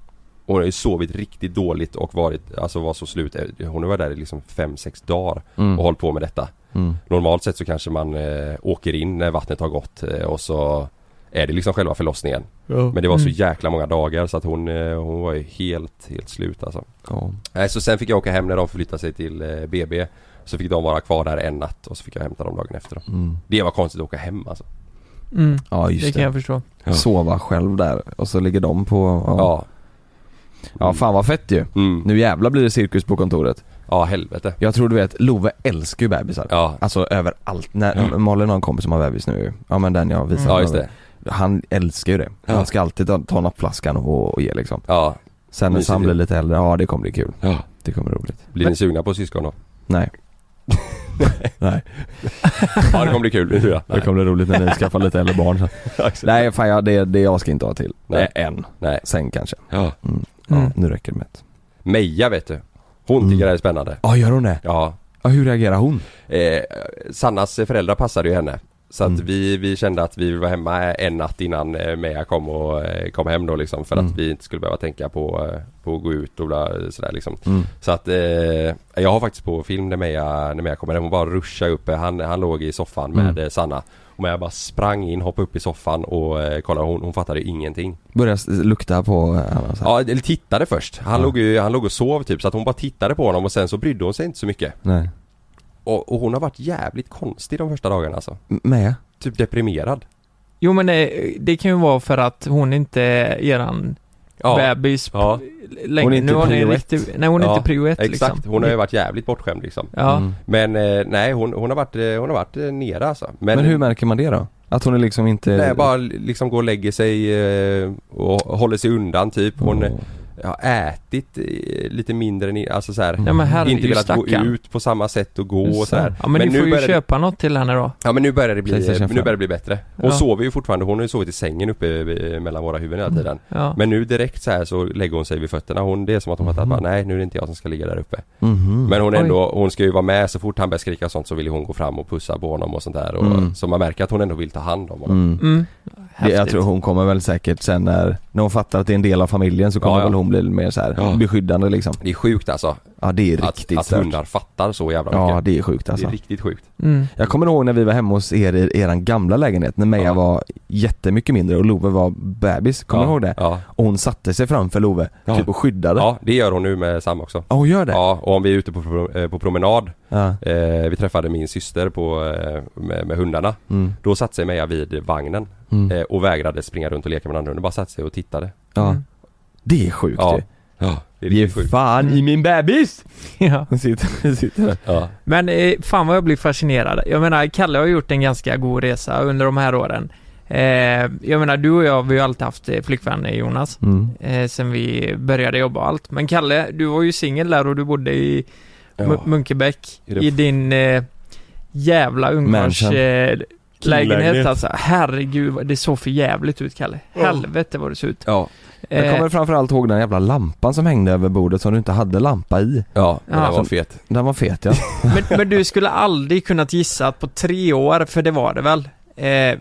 Hon hade ju sovit riktigt dåligt och varit Alltså var så slut Hon var där i liksom 5-6 dagar Mm. och hållit på med detta Mm. Normalt sett så kanske man eh, åker in när vattnet har gått eh, och så Är det liksom själva förlossningen Men det var så Mm. jäkla många dagar så att hon, eh, hon var ju helt, helt slut alltså Ja. Nej så sen fick jag åka hem när de förflyttade sig till eh, BB Så fick de vara kvar där en natt och så fick jag hämta dem dagen efter då. Mm. Det var konstigt att åka hem alltså Mm. ja Det just kan det. jag förstå. Ja. Sova själv där och så ligger de på, ja. Ja, Ja fan vad fett ju. mm. Nu jävlar blir det cirkus på kontoret. Ja helvete Jag tror du vet, Love älskar ju bebisar. Ja, Alltså överallt. När, Malin har en kompis som har bebis nu ju. Mm. Ja men den jag visade. ja just det Han älskar ju det. Ja. Han ska alltid ta, ta nappflaskan och, och ge liksom. Ja Sen när Mysigt Sam ju. blir lite äldre, ja det kommer bli kul. Ja. Det kommer bli roligt. Blir ni sugna på syskon då? Nej. Nej, Ja det kommer bli kul. Ja, det kommer bli roligt när ni skaffar lite äldre barn sen. Nej fan jag, det, det jag ska inte ha till. Nej. Nej. En. Nej. Sen kanske. Ja. Ja, Mm. nu räcker det med ett. Meja vet du. Hon Mm. tycker det här är spännande. Ja, gör hon det? Ja. Ja, hur reagerar hon? Eh, Sannas föräldrar passade ju henne. Så att Mm. vi, vi kände att vi var hemma en natt innan eh, Meja kom och eh, kom hem då liksom för Mm. att vi inte skulle behöva tänka på, eh, på att gå ut och bla, sådär liksom. Mm. Så att eh, jag har faktiskt på film när Meja, när Meja kommer hem, hon bara ruschar upp. Han, han låg i soffan med Mm. eh, Sanna. Och Meja bara sprang in, hoppade upp i soffan och eh, kollade, hon, hon fattade ingenting. Börjar s- lukta på eh, annars. Ja, eller tittade först. Han, Ja. låg, ju- han låg och sov typ så att hon bara tittade på honom och sen så brydde hon sig inte så mycket. Nej. Och, och hon har varit jävligt konstig de första dagarna alltså. M- Meja? Typ deprimerad. Jo men det, det kan ju vara för att hon inte är eran bebis ja längre. Hon är inte nu har ni en prio riktig, Nej hon är Ja, inte prio ett exakt. liksom. Hon har ju varit jävligt bortskämd liksom. Ja. Mm. Men eh, nej, hon, hon, har varit, eh, hon har varit eh, nere alltså. Men, hur märker man det då? Att hon är liksom inte... Nej, bara liksom går och lägger sig eh, och håller sig undan typ. Hon eh, Mm. Åh. har ätit eh, lite mindre än, i- alltså så här. ja men herre, Inte ju velat gå stackarn. ut på samma sätt och gå Det är och sådär. Ja men, ni får ju börjar det- köpa något till henne då. Ja men nu börjar det bli, Playstation nu fem. börjar det bli bättre. Hon Ja. sover ju fortfarande, hon har ju sovit i sängen uppe eh, mellan våra huvuden hela Mm. tiden. Ja. Men nu direkt så här så lägger hon sig vid fötterna. Hon, det är som att hon fattar att Mm. bara, nej nu är det inte jag som ska ligga där uppe. Mhm. Men hon är Oj. ändå, hon ska ju vara med så fort han börjar skrika och sånt så vill ju hon gå fram och pussa på honom och sånt där. Och, Mm. Så man märker att hon ändå vill ta hand om honom. Mm. Mm. Det, jag Häftigt. tror hon kommer väl säkert sen när, när hon fattar att det är en del av familjen så kommer Ja, ja. väl hon bli mer så här Ja. beskyddande liksom. Det är sjukt alltså. Ja det är Att, riktigt att stört. hundar fattar så jävla mycket. Ja det är sjukt det alltså. är riktigt sjukt. Mm. Jag kommer ihåg när vi var hemma hos er i eran gamla lägenhet när Meja Ja. var jättemycket mindre och Love var bebis, kommer ja. du ihåg det? Ja. Och hon satte sig framför Love, Ja. typ och skyddade. Ja. ja, det gör hon nu med Sam också. hon gör det? Ja, och om vi är ute på, pro- eh, på promenad. Ja. Eh, vi träffade min syster på, eh, med, med hundarna. Mm. Då satte sig Meja vid vagnen Mm. eh, och vägrade springa runt och leka med andra hundar. Bara satte sig och tittade. ja. Det är sjukt mm. Ja. ju. Ja, det är Ge riktigt sjukt. fan i min bebis! Ja. Hon sitter, hon sitter där. Ja. Men eh, fan vad jag blir fascinerad. Jag menar, Kalle har gjort en ganska god resa under de här åren. Eh, jag menar, du och jag, vi har ju alltid haft eh, flickvän eh, Jonas, Mm. eh, sen vi började jobba och allt. Men Kalle, du var ju singel där och du bodde i M- Ja. Munkebäck, I det- i din eh, jävla ungdoms... Mansion. Eh, lägenhet Killlägenhet. alltså. Herregud, vad- det såg för jävligt ut Kalle. Helvete vad det såg ut. Ja. Jag Eh, kommer framförallt ihåg den jävla lampan som hängde över bordet som du inte hade lampa i. Ja, men Ja. den var fet. Den var fet ja. Men, men du skulle aldrig kunnat gissa att på tre år, för det var det väl? Eh,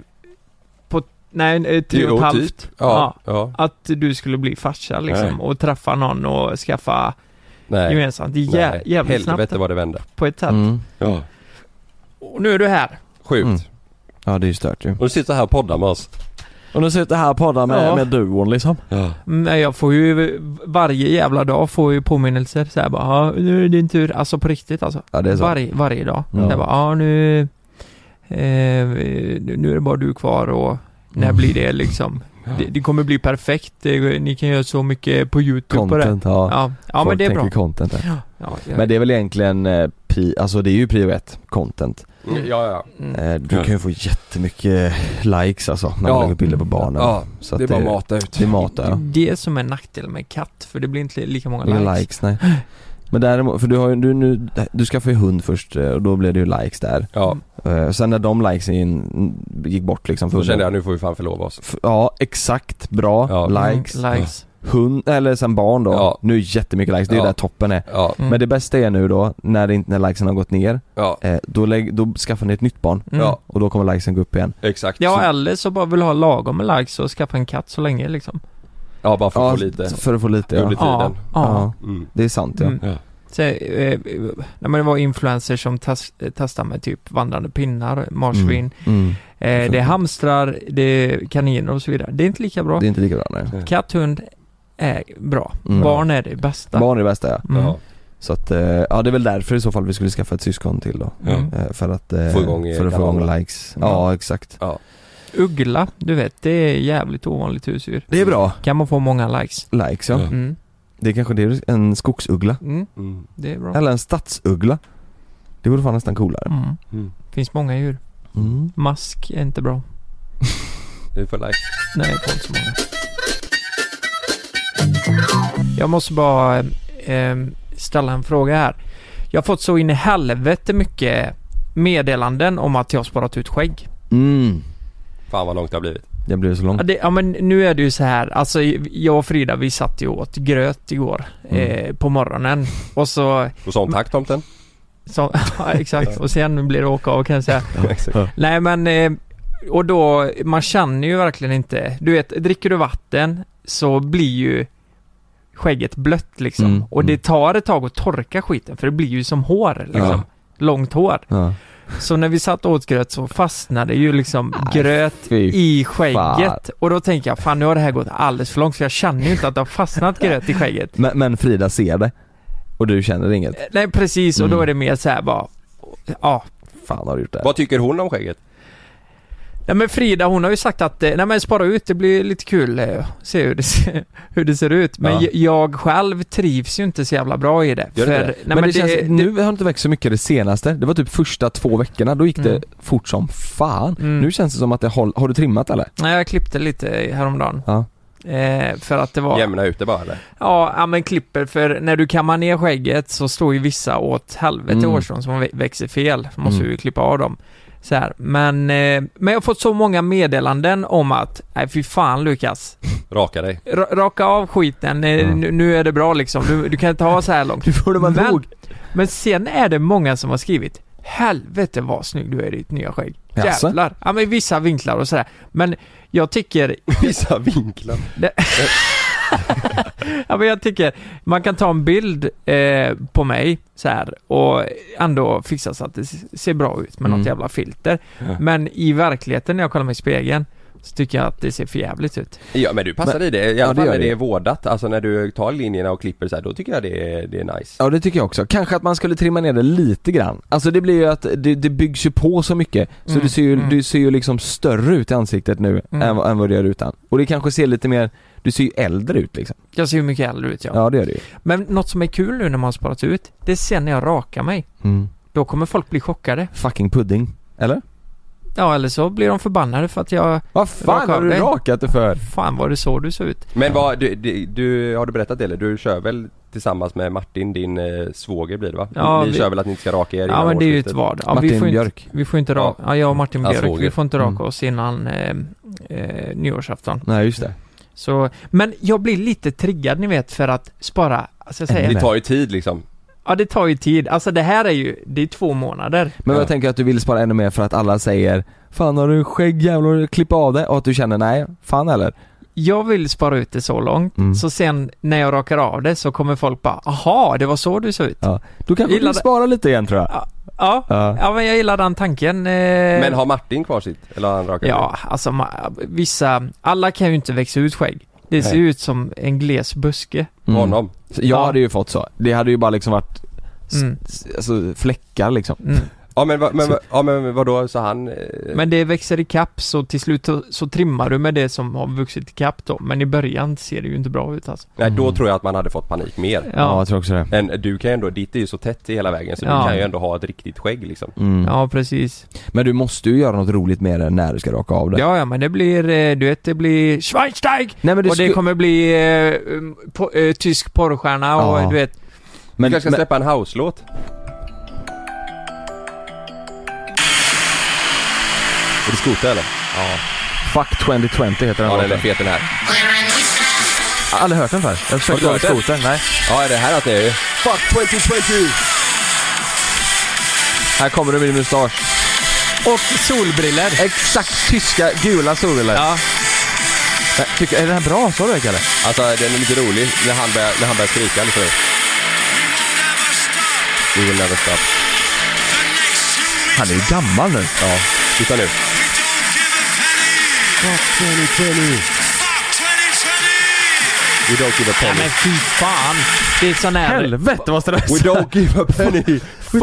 på, nej, eh, tre och Jo, ett halvt. typ. Ja, ja. Att du skulle bli farsa liksom och träffa någon och skaffa Nej. gemensamt. Det är Nej. jä- jävligt Helvete snabbt vad det vände. på ett sätt. Mm. Ja. Och nu är du här. Sjukt. Mm. Ja det är ju stört ju. Och du sitter här och poddar med oss. Och nu sitter jag här och poddar med, Ja. med duon liksom. Ja. Men Mm, jag får ju varje jävla dag får jag ju påminnelser så här bara ja, nu är det din tur. Alltså på riktigt alltså. Ja det är så. Varje, varje dag. Ja. Jag bara, ja nu, eh, nu är det bara du kvar och när Mm. blir det liksom? Det, det kommer bli perfekt, Det- ni kan göra så mycket på youtube på det. Content, ja. Ja, ja Folk men det är tänker bra. content där. Ja, Men det är väl egentligen, eh, pi, alltså det är ju prio ett, content. Ja, ja. mm. Eh, du Ja. kan ju få jättemycket likes alltså, när Ja. man lägger bilder på barnen. ja. Så att det är bara att mata ut. Det är mat där, Det ja. är det som är nackdelen med katt, för det blir inte lika många Inga likes. likes. nej. Men däremot, för du har ju, du, nu, du skaffade ju hund först eh, och då blev det ju likes där. Mm, Ja, Eh, sen när de likes in, gick bort liksom för då kände hunden. jag nu får vi fan förlova oss. F- Ja, exakt, bra, Ja. likes. Mm, likes. Hund, eller sen barn då. Ja. Nu är det jättemycket likes, det är Ja. där toppen är. Ja, Mm. Men det bästa är nu då, när, det, inte- när likesen har gått ner, ja, eh, då, lägg, då skaffar ni ett nytt barn. Mm. ja, Och då kommer likesen gå upp igen. exakt. Ja, Så- eller så bara vill ha lagom med likes och skaffa en katt så länge liksom. ja bara för att få lite. För att få lite ja. Under tiden. Ja, ja. ja. Mm. Det är sant ja. Mm. Ja. Så, eh, när man var influencers som tas- testade med typ vandrande pinnar, marsvin, Mm. Eh, det är hamstrar, det är kaniner och så vidare. Det är inte lika bra. Det är inte lika bra nej. Katt, hund är bra. Mm. Barn är det bästa. Barn är det bästa ja. Mm. Ja. Så att, eh, ja det är väl därför i så fall vi skulle skaffa ett syskon till då. Mm. Ja. Eh, För att, eh, Få igång, eh, Mm. för att få igång kanalerna. likes. Ja. Ja, exakt. Uggla, du vet, det är jävligt ovanligt husdjur. Det är bra. Kan man få många likes. Likes ja. Ja. Mm. Det är kanske det är en skogsuggla. Mm. Mm. Det är bra. Eller en stadsuggla. Det vore fan nästan coolare. Mm. Mm. Finns många djur. Mm. Mask är inte bra. Du får like. Nej, det finns så många. Jag måste ehm, bara eh, eh, ställa en fråga här. Jag har fått så in i helvete mycket meddelanden om att jag har sparat ut skägg. Mm. Fan vad långt det har blivit. Det blir så långt. Ja, det, ja men nu är det ju så här, alltså jag och Frida vi satt ju och åt gröt igår Mm. eh, på morgonen och så, Och sånt tack tomten. så ja, exakt, och sen blir det åka av kan jag säga. Exakt. Nej men, eh, och då, man känner ju verkligen inte, du vet, dricker du vatten så blir ju skägget blött liksom. Mm, Och mm. det tar ett tag att torka skiten för det blir ju som hår liksom. Ja. Långt hår. Ja. Så när vi satt och åt gröt så fastnade ju liksom Nej, gröt fy i skägget. fan. Och då tänker jag, fan nu har det här gått alldeles för långt för jag känner ju inte att det har fastnat gröt i skägget. Eh, Men, men Frida ser det. Och du känner inget. Nej precis, Mm. och då är det mer så här bara, ja. Fan har du gjort det här? Vad tycker hon om skägget? Nej men Frida hon har ju sagt att, eh, nej men spara ut, det blir lite kul, eh, se hur det, ser- hur det ser ut. Men Ja. j- jag själv trivs ju inte så jävla bra i det. Gör det för, inte det? Nej, men, det, känns, nu har det inte växt så mycket det senaste. Det var typ första två veckorna, då gick det Mm. fort som fan. Mm. Nu känns det som att det håll, har du trimmat eller? Nej jag klippte lite häromdagen. Ja. Eh, för att det var... Jämna ut det bara eller? Ja, ja men klipper för när du kammar ner skägget så står ju vissa åt helvete Mm. hårstrån som vä- växer fel. Måste Mm. ju klippa av dem. Så här. Men, eh, men jag har fått så många meddelanden om att, nej fy fan Lukas. Raka dig. ra- Raka av skiten, eh, Mm. nu, nu är det bra liksom. Du, du kan inte ha så här långt. Du får det vara Men- nog. Men sen är det många som har skrivit Helvete vad snygg du är i ditt nya skägg. Jaså? Jävlar. Ja men i vissa vinklar och sådär. Men jag tycker Vissa vinklar. Ja, men jag tycker, man kan ta en bild eh, på mig så här och ändå fixa så att det s- ser bra ut med Mm. något jävla filter. Ja. Men i verkligheten när jag kollar mig i spegeln så tycker jag att det ser för jävligt ut. Ja men du passar Men- i det. I Ja, alla det fall gör när det. det är vårdat. Alltså när du tar linjerna och klipper så här, då tycker jag det är, det är nice. Ja det tycker jag också. Kanske att man skulle trimma ner det lite grann. Alltså det blir ju att det, det byggs ju på så mycket så Mm, du, ser ju, mm. du ser ju liksom större ut i ansiktet nu Mm. än, vad- än vad du gör utan. Och det kanske ser lite mer, du ser ju äldre ut liksom. Jag ser ju mycket äldre ut ja. Ja det gör du ju. Men något som är kul nu när man har sparat ut, det är sen när jag rakar mig. Mm. Då kommer folk bli chockade. Fucking pudding. Eller? Ja eller så blir de förbannade för att jag, Vad fan Raka har av du dig. rakat det för? fan vad det så du såg ut. Men vad, du, du, du, har du berättat det eller? Du kör väl tillsammans med Martin, din eh, svåger blir det va? Ja, Ni vi- kör väl att ni inte ska raka er Ja innan men det är ju ett årsskiftet? vad. Ja, Martin vi får inte, Björk. Vi får inte raka, ja jag och Martin Ja, Björk, svåger. vi får inte raka Mm. oss innan eh, eh, nyårsafton. Nej just det. Så, men jag blir lite triggad ni vet för att spara, alltså jag säger, Det tar ju tid liksom. ja det tar ju tid, alltså det här är ju, det är två månader. Men Ja. jag tänker att du vill spara ännu mer för att alla säger Fan har du skägg jävlar, klipp av det och att du känner nej, fan eller? Jag vill spara ut det så långt, Mm. så sen när jag rakar av det så kommer folk bara, aha det var så du såg ut. Ja. Du kanske Gillar vill det. spara lite igen tror jag? Ja. Ja, Ja. Mm. ja men jag gillar den tanken. eh, Men har Martin kvar sitt? Eller har han rakat Ja, alltså ma- vissa, alla kan ju inte växa ut skägg. Det ser Nej. ut som en gles buske. det? Mm. Honom? Så Jag Ja. hade ju fått så. Det hade ju bara liksom varit s- Mm. s- alltså, fläckar liksom. Mm. Ja men, va, men, va, ja, men vadå, så han... Eh, Men det växer i kapp så till slut så, så trimmar du med det som har vuxit i kapp då. Men i början ser det ju inte bra ut alltså. nej då tror jag att man hade fått panik mer. Ja. jag tror också det. Men du kan ju ändå, ditt är ju så tätt hela vägen så Ja. du kan ju ändå ha ett riktigt skägg liksom. Mm. Ja, precis. Men du måste ju göra något roligt med det när du ska raka av det. Ja, ja, men det blir, eh, du vet, det blir Schweinsteig! Nej, men du och det sku- kommer bli eh, um, po- eh, tysk porrstjärna och Ja. du vet... Du men, kanske ska men, släppa en house-låt? Är det skoter eller? Fuck 2020 heter den Ja den är låten. fet den här. Jag har aldrig hört den förr. Jag Har försökte du ha hört den? skoter, nej. Ja det här att det är ju. Fuck 2020! Här kommer du med mustasch. Och solbriller Exakt tyska gula solbrillor. Ja. Men tycker- Är den här bra? Sa du det Kalle? Alltså den är lite rolig när han börjar, när han börjar skrika lite nu. We will never stop. Han är ju gammal nu. Ja, titta nu. We don't give a Nej, penny. men fy fan! Det är sån här... Helvete vad We stressad. don't give a penny.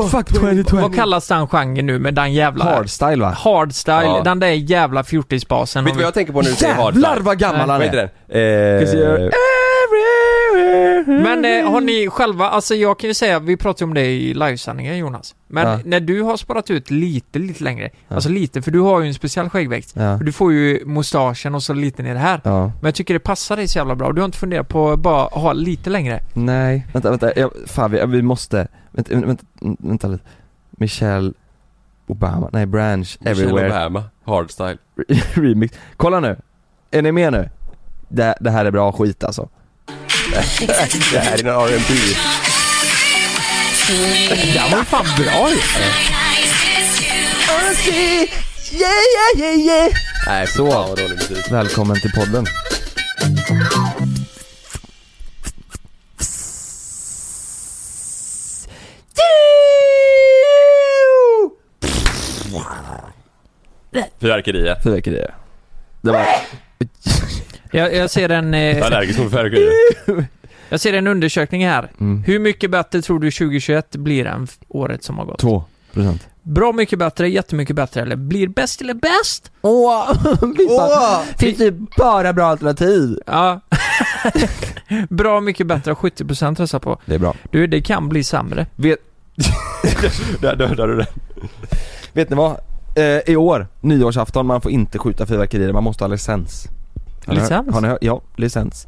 Fuck 2020. Vad kallas den genren nu med den jävla... Hardstyle va? Hardstyle, Ja. den där jävla fjortisbasen. Vet du vad jag tänker på när du säger hard Jävlar side? vad gammal han Vad heter är. den? Eh, Men eh, har ni själva, alltså jag kan ju säga, vi pratade ju om det i livesändningen Jonas. Men Ja. när du har sparat ut lite, lite längre, alltså lite, för du har ju en speciell skäggväxt. Ja. Och Du får ju mustaschen och så lite ner här. Ja. Men jag tycker det passar dig så jävla bra. Du har inte funderat på att bara ha lite längre? Nej. Vänta, vänta. Jag, fan vi, vi måste. Vänta, vänta, vänta, vänta lite. Michelle Obama, nej Branch, Michelle Everywhere Obama, hardstyle. remix. Kolla nu, är ni med nu? Det, det här är bra skit alltså. Det här är en R&B Det här var ju fan bra ju. Nej, så. Fan, vad dålig musik. Välkommen till podden. Fyrverkerier. Fyrverkerier. Det var... Jag, jag ser en... Jag är Eh, allergisk mot fyrverkerier. jag ser en undersökning här. Mm. Hur mycket bättre tror du 2021 blir än f- året som har gått? Två procent. Bra mycket bättre, jättemycket bättre eller blir bäst eller bäst? Åh! Åh! Finns det bara bra alternativ? Ja. Bra mycket bättre, 70% röstar på. Det är bra. Du, det kan bli sämre. Vet, Där dödar du den. vet ni vad? Eh, I år, nyårsafton, man får inte skjuta fyrverkerier, man måste ha licens. Har ni hört- Licens? Har ni hört? Ja, licens.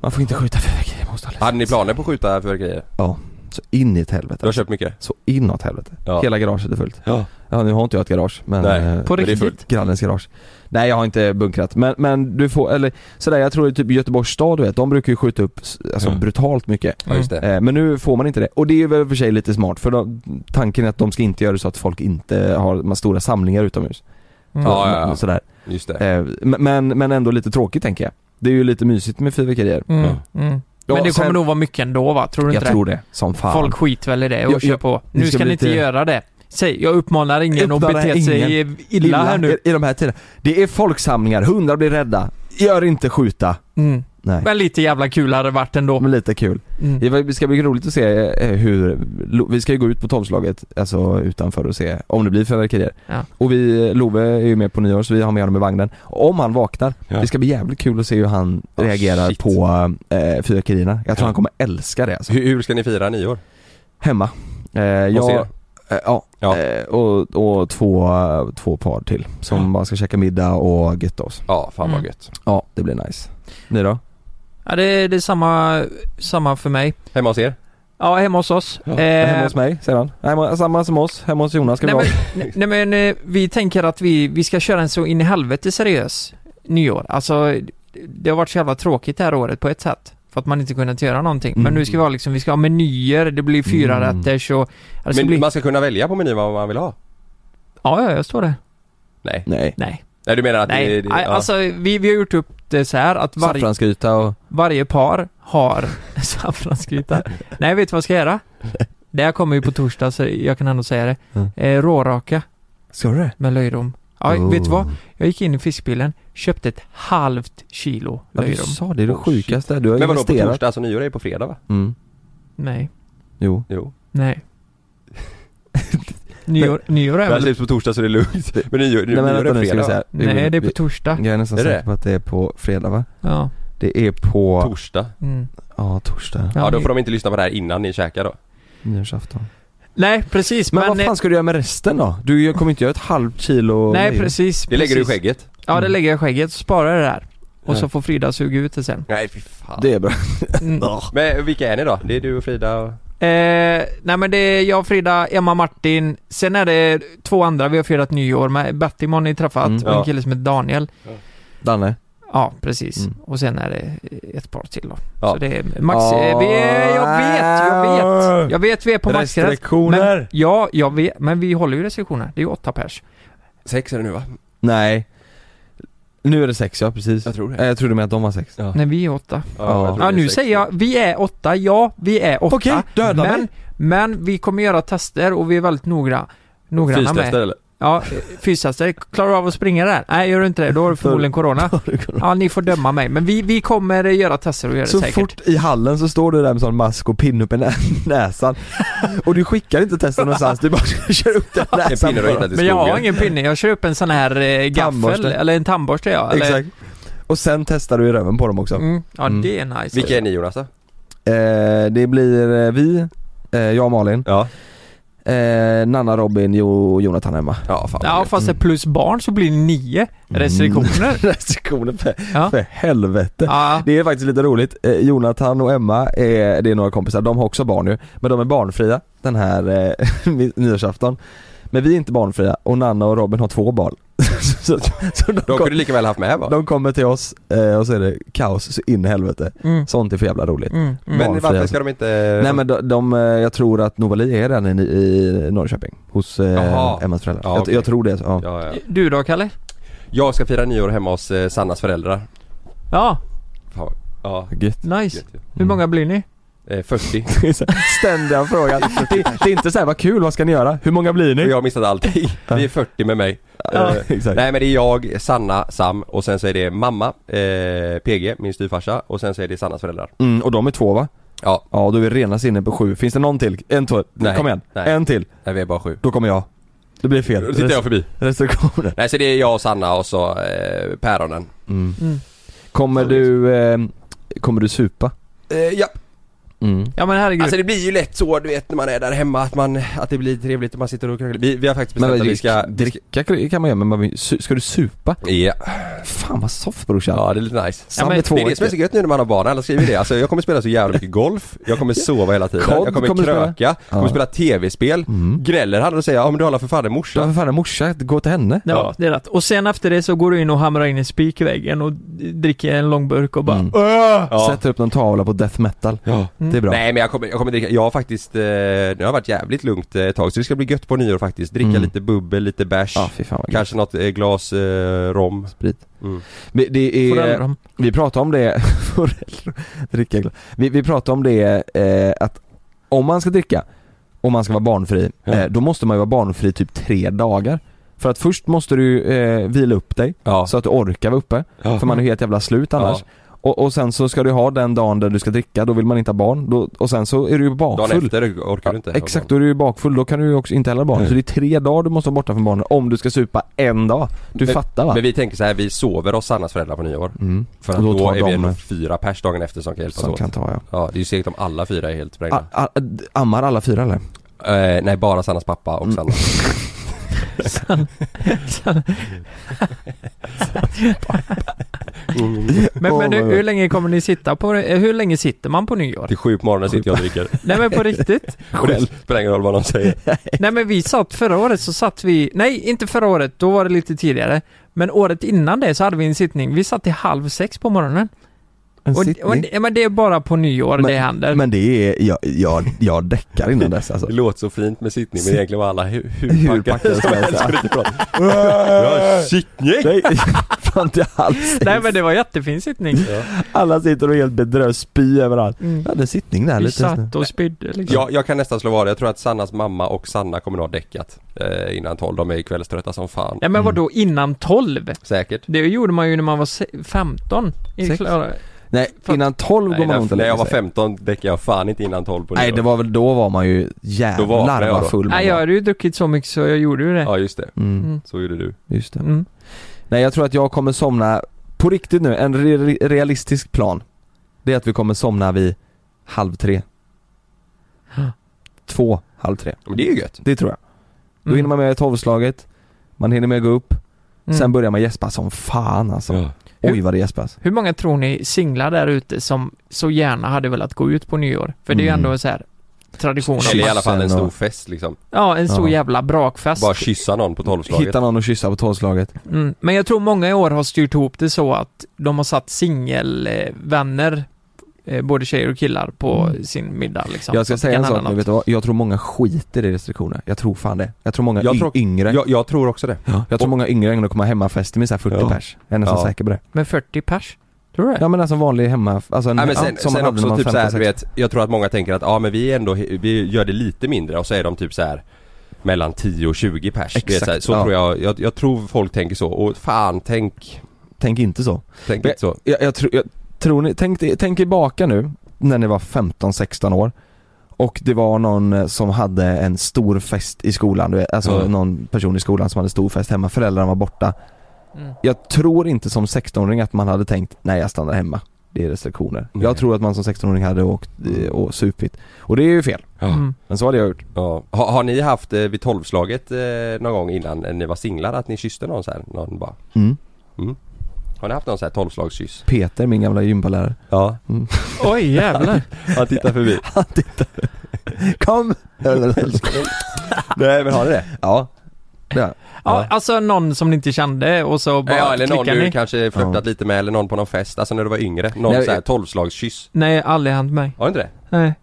Man får inte skjuta fyrverkerier, man måste ha licens. Hade ni planer på att skjuta fyrverkerier? Så in i ett helvete. Du har köpt mycket? Så inåt helvete. Ja. Hela garaget är fullt. Ja. Ja nu har inte jag ett garage men... Nej, eh, På Men det är riktigt. fullt. Grannens garage. Nej jag har inte bunkrat men, men du får, eller sådär jag tror typ Göteborgs stad du vet, de brukar ju skjuta upp s- alltså, Mm. brutalt mycket. Ja, just det. Eh, men nu får man inte det. Och det är väl i och för sig lite smart för då, tanken är att de ska inte göra det så att folk inte har de här stora samlingar utomhus. Mm. Ja, ja, ja. Sådär. Just det. Eh, men- men, men ändå lite tråkigt tänker jag. Det är ju lite mysigt med fyrverkerier. Mm. Mm. Ja, Men det sen- kommer nog vara mycket ändå va? Tror du Jag inte tror det, som fan. det? Folk skiter väl i det och Jag- kör jag- på. det Nu ska ska ni bli inte lite- göra det. Säg, jag uppmanar ingen att Uppmanar bete sig illa här nu. I, I de här tiderna. Det är folksamlingar, hundar blir rädda. Gör inte skjuta. Mm. Nej. Men lite jävla kul hade det varit ändå. Men lite kul. Mm. Det var- det ska bli roligt att se eh, hur, Lo- vi ska ju gå ut på tolvslaget, alltså utanför och se om det blir fyrverkerier. Ja. Och vi, Love är ju med på nyår så vi har med honom i vagnen. Om han vaknar, Ja. det ska bli jävligt kul att se hur han Ah, reagerar shit. på eh, fyrverkerierna. Jag tror Ja. han kommer älska det alltså. Hur, hur ska ni fira nyår? Hemma. Eh, jag, Hos er? eh, ja, Ja. Eh, och, och två, två par till som Ja. bara ska käka middag och götta oss. Ja, fan vad Mm. gött. Ja, det blir nice. Ni då? Ja, det, det är samma, samma för mig. Hemma hos er? Ja, hemma hos oss. Ja, Eh, Hemma hos mig, säger han. Hemma, samma som oss, hemma hos Jonas ska nej, vi men, vara. nej, nej men eh, vi tänker att vi, vi ska köra en så in i helvete seriös nyår. Alltså, det har varit så jävla tråkigt det här året på ett sätt. För att man inte kunnat göra någonting. Men Mm. nu ska vi ha liksom, vi ska ha menyer, det blir fyra Mm. rätters och... ja, Det ska Men bli... man ska kunna välja på menyn vad man vill ha? Ja, ja, jag står där. Nej. Nej. Nej. Nej du menar att Nej, det, det, nej ja. alltså vi, vi har gjort upp det så här att varje, Saffransgryta och... varje par har saffransgryta. Nej, vet du vad jag ska göra? Det här kommer ju på torsdag så jag kan ändå säga det. Mm. Eh, råraka Ska du det? med löjrom. Ja, vet du Oh. vad? Jag gick in i fiskbilen, köpte ett halvt kilo Ja, du löjrom. sa det, det är det Oh, sjukaste. Du har Men vadå på investerat. torsdag? Alltså nyår är på fredag va? Mm. Nej, Jo. Jo. nej. Nyår, nyår är Men väl... släpps på torsdag så det är lugnt. Men nyår, Nej men nyår vänta nu är ska fredag vi va? säga. Vi- Nej, det är på vi- torsdag. Jag är nästan Är det säker det? på att det är på fredag va? Ja. Det är på... Torsdag? Mm. ja, torsdag. Ja, då ni- får de inte lyssna på det här innan ni käkar då. Nyårsafton. Nej, precis. Men, Men, eh, vad fan ska du göra med resten då? Du gör- kommer inte göra ett halvt kilo... nej, löjrom. precis. Det lägger du i precis. skägget? Mm. Ja, det lägger jag i skägget, så sparar jag det där. Och så Ja. får Frida suga ut det sen. Nej fy fan. Det är bra. Mm. Men vilka är ni då? Det är du och Frida och... Eh, nej men det är jag, Frida, Emma, Martin. Sen är det två andra vi har firat nyår med. Battimon har ni träffat Mm. och en Ja. kille som heter Daniel. Danne? Ja, precis. Mm. Och sen är det eh, ett par till då. Ja. Så det är max... eh, Vi är, jag vet, jag vet. Jag vet vi är på maxgräns. Men, Restriktioner! ja, jag vet. Men vi håller ju restriktioner. Det är ju åtta pers. Sex är det nu va? Nej. Nu är det sex ja, precis. Jag tror det. Eh, Jag trodde med att de var sex. Ja. Nej, vi är åtta. Ja. jag tror Ja, det är nu sex. säger jag, vi är åtta. Ja, vi är åtta. Okej, döda men, mig. men vi kommer göra tester och vi är väldigt noggranna. Noggranna med. Fystester eller? Ja, eh, fysaste. Klarar du av att springa där? Nej, gör du inte det, då har du förmodligen corona. Ja, ni får döma mig. Men vi, vi kommer eh, göra tester och göra Så det säkert. fort i hallen så står du där med sån mask och pinne upp i nä- näsan och du skickar inte testen någonstans, du bara kör upp den En näsan pinne du har hittat i Men jag har skogen. ingen pinne, jag kör upp en sån här eh, gaffel, Tandborste. eller en tandborste ja. Eller, Exakt. Och sen testar du i röven på dem också. Mm, ja, Mm. det är nice. Vilka är ni Jonas då? Eh, det blir eh, vi, eh, jag och Malin, Ja. eh, Nanna, Robin, jo, Jonathan hemma. Ja fan. Ja, fast det är plus barn så blir det nio Mm. restriktioner. Restriktioner för, Ja. för helvete. Ja, Det är faktiskt lite roligt, eh, Jonathan och Emma, är, det är några kompisar, de har också barn nu, men de är barnfria den här eh, nyårsafton. Men vi är inte barnfria och Nanna och Robin har två barn. så, så de, De kom, kunde du lika väl haft med va? de kommer till oss eh, och så är det kaos så in i helvete. Mm. Sånt är för jävla roligt. Mm. Mm. Men barnfria, varför alltså. ska de inte... Nej men de, de eh, jag tror att Novali är redan i, i Norrköping hos eh, Jaha. Emmas föräldrar. Ja, jag, okej. jag tror det, ja. Ja, ja. Du då Kalle? Jag ska fira nyår hemma hos eh, Sannas föräldrar. Ja, Fan, vad- Ja, Gött. nice. gött ju. Mm. Hur många blir ni? Eh, 40. Ständiga frågan. Det, det är inte så här, vad kul, vad ska ni göra? Hur många blir Och ni? jag har missat allting. Vi är 40 med mig. Ja, Eh, exakt. Nej men det är jag, Sanna, Sam och sen så är det mamma, eh, PG, min styvfarsa och sen så är det Sannas föräldrar. Mm, och de är två va? Ja, Ja, då är vi renast inne på sju. Finns det någon till? En, två, Nej. kom igen. Nej. En till, nej, vi är bara sju. då kommer jag. Det blir fel. Då tittar jag förbi. Restriktioner. Nej så det är jag och Sanna och så eh, päronen. Kommer du, eh, kommer du supa? Eh, ja, Mm. Ja men herregud. alltså det blir ju lätt så du vet när man är där hemma att man, att det blir trevligt och man sitter och krökar. Vi, vi har faktiskt bestämt att vi ska... dricka kan man göra men man, vill- su- ska du supa? Ja. Fan vad soft brorsan. ja, det är lite nice. Sam men är två Det är det som är så gött nu när man har barn, alla skriver det. Alltså jag kommer spela så jävla mycket golf, jag kommer sova hela tiden, Kod jag kommer, kommer du spela. kröka, jag kommer Ja. spela tv-spel. Gnäller han och säger ja men du håller för fan en Du har morsa. Mm. för fan en morsa, gå till henne. Ja, Ja. det är rätt. Och sen efter det så går du in och hamrar in en spik i väggen och d- dricker en lång burk och bara Mm. Ja. Sätter upp någon tavla på death metal. Ja. Det är bra. Nej men jag kommer, jag kommer dricka, jag har faktiskt, eh, nu har jag varit jävligt lugnt eh, ett tag så det ska bli gött på nyår faktiskt. Dricka Mm. lite bubbel, lite bärs, Ja, fy fan vad gött. kanske något eh, glas eh, rom. Sprit. Mm. Men det får är, över dem. vi pratade om det, Forell- dricka glas. vi, vi pratade om det eh, att om man ska dricka, om man ska vara barnfri, Ja. eh, då måste man ju vara barnfri typ tre dagar. För att först måste du eh, vila upp dig, Ja. så att du orkar vara uppe. Ja. För man är helt jävla slut annars. Ja. Och, och sen så ska du ha den dagen där du ska dricka, då vill man inte ha barn. Då, och sen så är du ju bakfull. Dagen efter orkar du inte. Exakt, då är du ju bakfull, då kan du ju också inte heller ha barn. Nej. Så det är tre dagar du måste vara borta från barnen om du ska supa en dag. Du fattar va? Men vi tänker så här, vi sover hos Sannas föräldrar på nyår. Mm. För att Och då, då tar är vi de- ändå fyra pers dagen efter som kan hjälpas Som åt. kan ta ja. Ja, det är ju segt om alla fyra är helt sprängda. A, a, ammar alla fyra eller? Ah. Eh, nej, bara Sannas pappa Mm. och Sanna. Men, men Åh, hur, vad- hur länge kommer ni sitta på det? Eh, Hur länge sitter man på nyår? Till sju på morgonen sitter jag och dricker. Nej men på riktigt? Och det spelar ingen roll vad de säger. Nej men vi satt förra året så satt vi, nej inte förra året, då var det lite tidigare. Men året innan det så hade vi en sittning, vi satt till halv sex på morgonen. En Och, sittning? och, ja, men det är bara på nyår det händer. Men det är, jag, jag, jag däckar innan dess alltså. Det låter så fint med sittning men egentligen var alla hu- Hur hur packade packade som som helst. helst. Ja, sittning! Nej, fan till alls. Nej men det var jättefin sittning. Mm. Mm. Alla sitter och är helt bedrövs, spy överallt. Jag hade en sittning där Vi lite. satt och spydde liksom. Jag, jag kan nästan slå vad, jag tror att Sannas mamma och Sanna kommer att ha däckat eh, innan tolv. De är kvällströtta som fan. Nej men vadå Mm. innan 12? Säkert. Det gjorde man ju när man var se- 15. I Sex. Mm. klara- Nej, Fan. innan tolv går Nej, man nog inte när, när jag lägga var sig. 15 däckade jag fan inte innan tolv på Nej nyår. det var väl, då var man ju Då vaknade jävlar jag vad då. full man Nej jag var. hade ju druckit så mycket så jag gjorde ju det. Ja just det, Mm, så gjorde du. just det. Mm. Nej jag tror att jag kommer somna, på riktigt nu, en re- realistisk plan. Det är att vi kommer somna vid halv tre. Två, halv tre. Men det är ju gött. Det tror jag. Då hinner man med tolvslaget, man hinner med att gå upp, Mm. sen börjar man gäspa som fan alltså. Ja. Oj vad det gäspas. Hur många tror ni singlar där ute som så gärna hade velat gå ut på nyår? För det är ju Mm. ändå så här tradition. Kyss. Eller i alla fall en Kyssen stor och- fest liksom. Ja, en stor Ja. jävla brakfest. Bara kyssa någon på tolvslaget. Hitta någon att kyssa på tolvslaget. Mm. Men jag tror många i år har styrt ihop det så att de har satt singelvänner, eh, både tjejer och killar, på sin middag liksom. Mm. Jag ska Så det säga kan en sak hända nu, något. vet du vad? Jag tror många skiter i restriktioner. Jag tror fan det. Jag tror många Jag y- tror- yngre Jag, jag tror också det. Ja, jag tror Och- många yngre ändå kommer ha hemmafester med så här 40 Ja. pers. Jag är nästan Ja. säker på det. Med 40 pers? Tror du det? Ja men alltså en vanlig hemma, alltså en, Nej, men sen, ja, som man sen hade när också man typ såhär, du 15-16. vet, jag tror att många tänker att ja men vi är ändå, vi gör det lite mindre och så är de typ så här mellan 10 och 20 pers. Exakt, Exakt, så här, så ja. tror jag, jag, jag tror folk tänker så och fan tänk, Tänk inte så. tänk Men- inte så. Jag, jag, tror- jag tror ni, tänk, tänk tillbaka nu när ni var 15-16 år och det var någon eh, som hade en stor fest i skolan, du vet, alltså Ja. någon person i skolan som hade stor fest hemma, föräldrarna var borta. Mm. Jag tror inte som 16-åring att man hade tänkt, nej jag stannar hemma. Det är restriktioner. Nej. Jag tror att man som 16-åring hade åkt eh, och supit. Och det är ju fel. Mm. Men så hade jag gjort. Ja. Har, har ni haft eh, vid tolvslaget eh, någon gång innan när ni var singlar att ni kysste någon så här, någon bara? Mm. Har ni haft någon så här tolvslagskyss? Peter, min gamla gympalärare. Ja, Oj jävlar. han tittar förbi. Kom! Nej men har ni det? Ja, Ja. Ja, alltså någon som ni inte kände och så bara Ja eller någon klickar du ni. kanske flörtat Ja. lite med eller någon på någon fest, alltså när du var yngre. Någon Nej, såhär jag- tolvslagskyss. Nej, aldrig hänt mig. Har du inte det? Nej.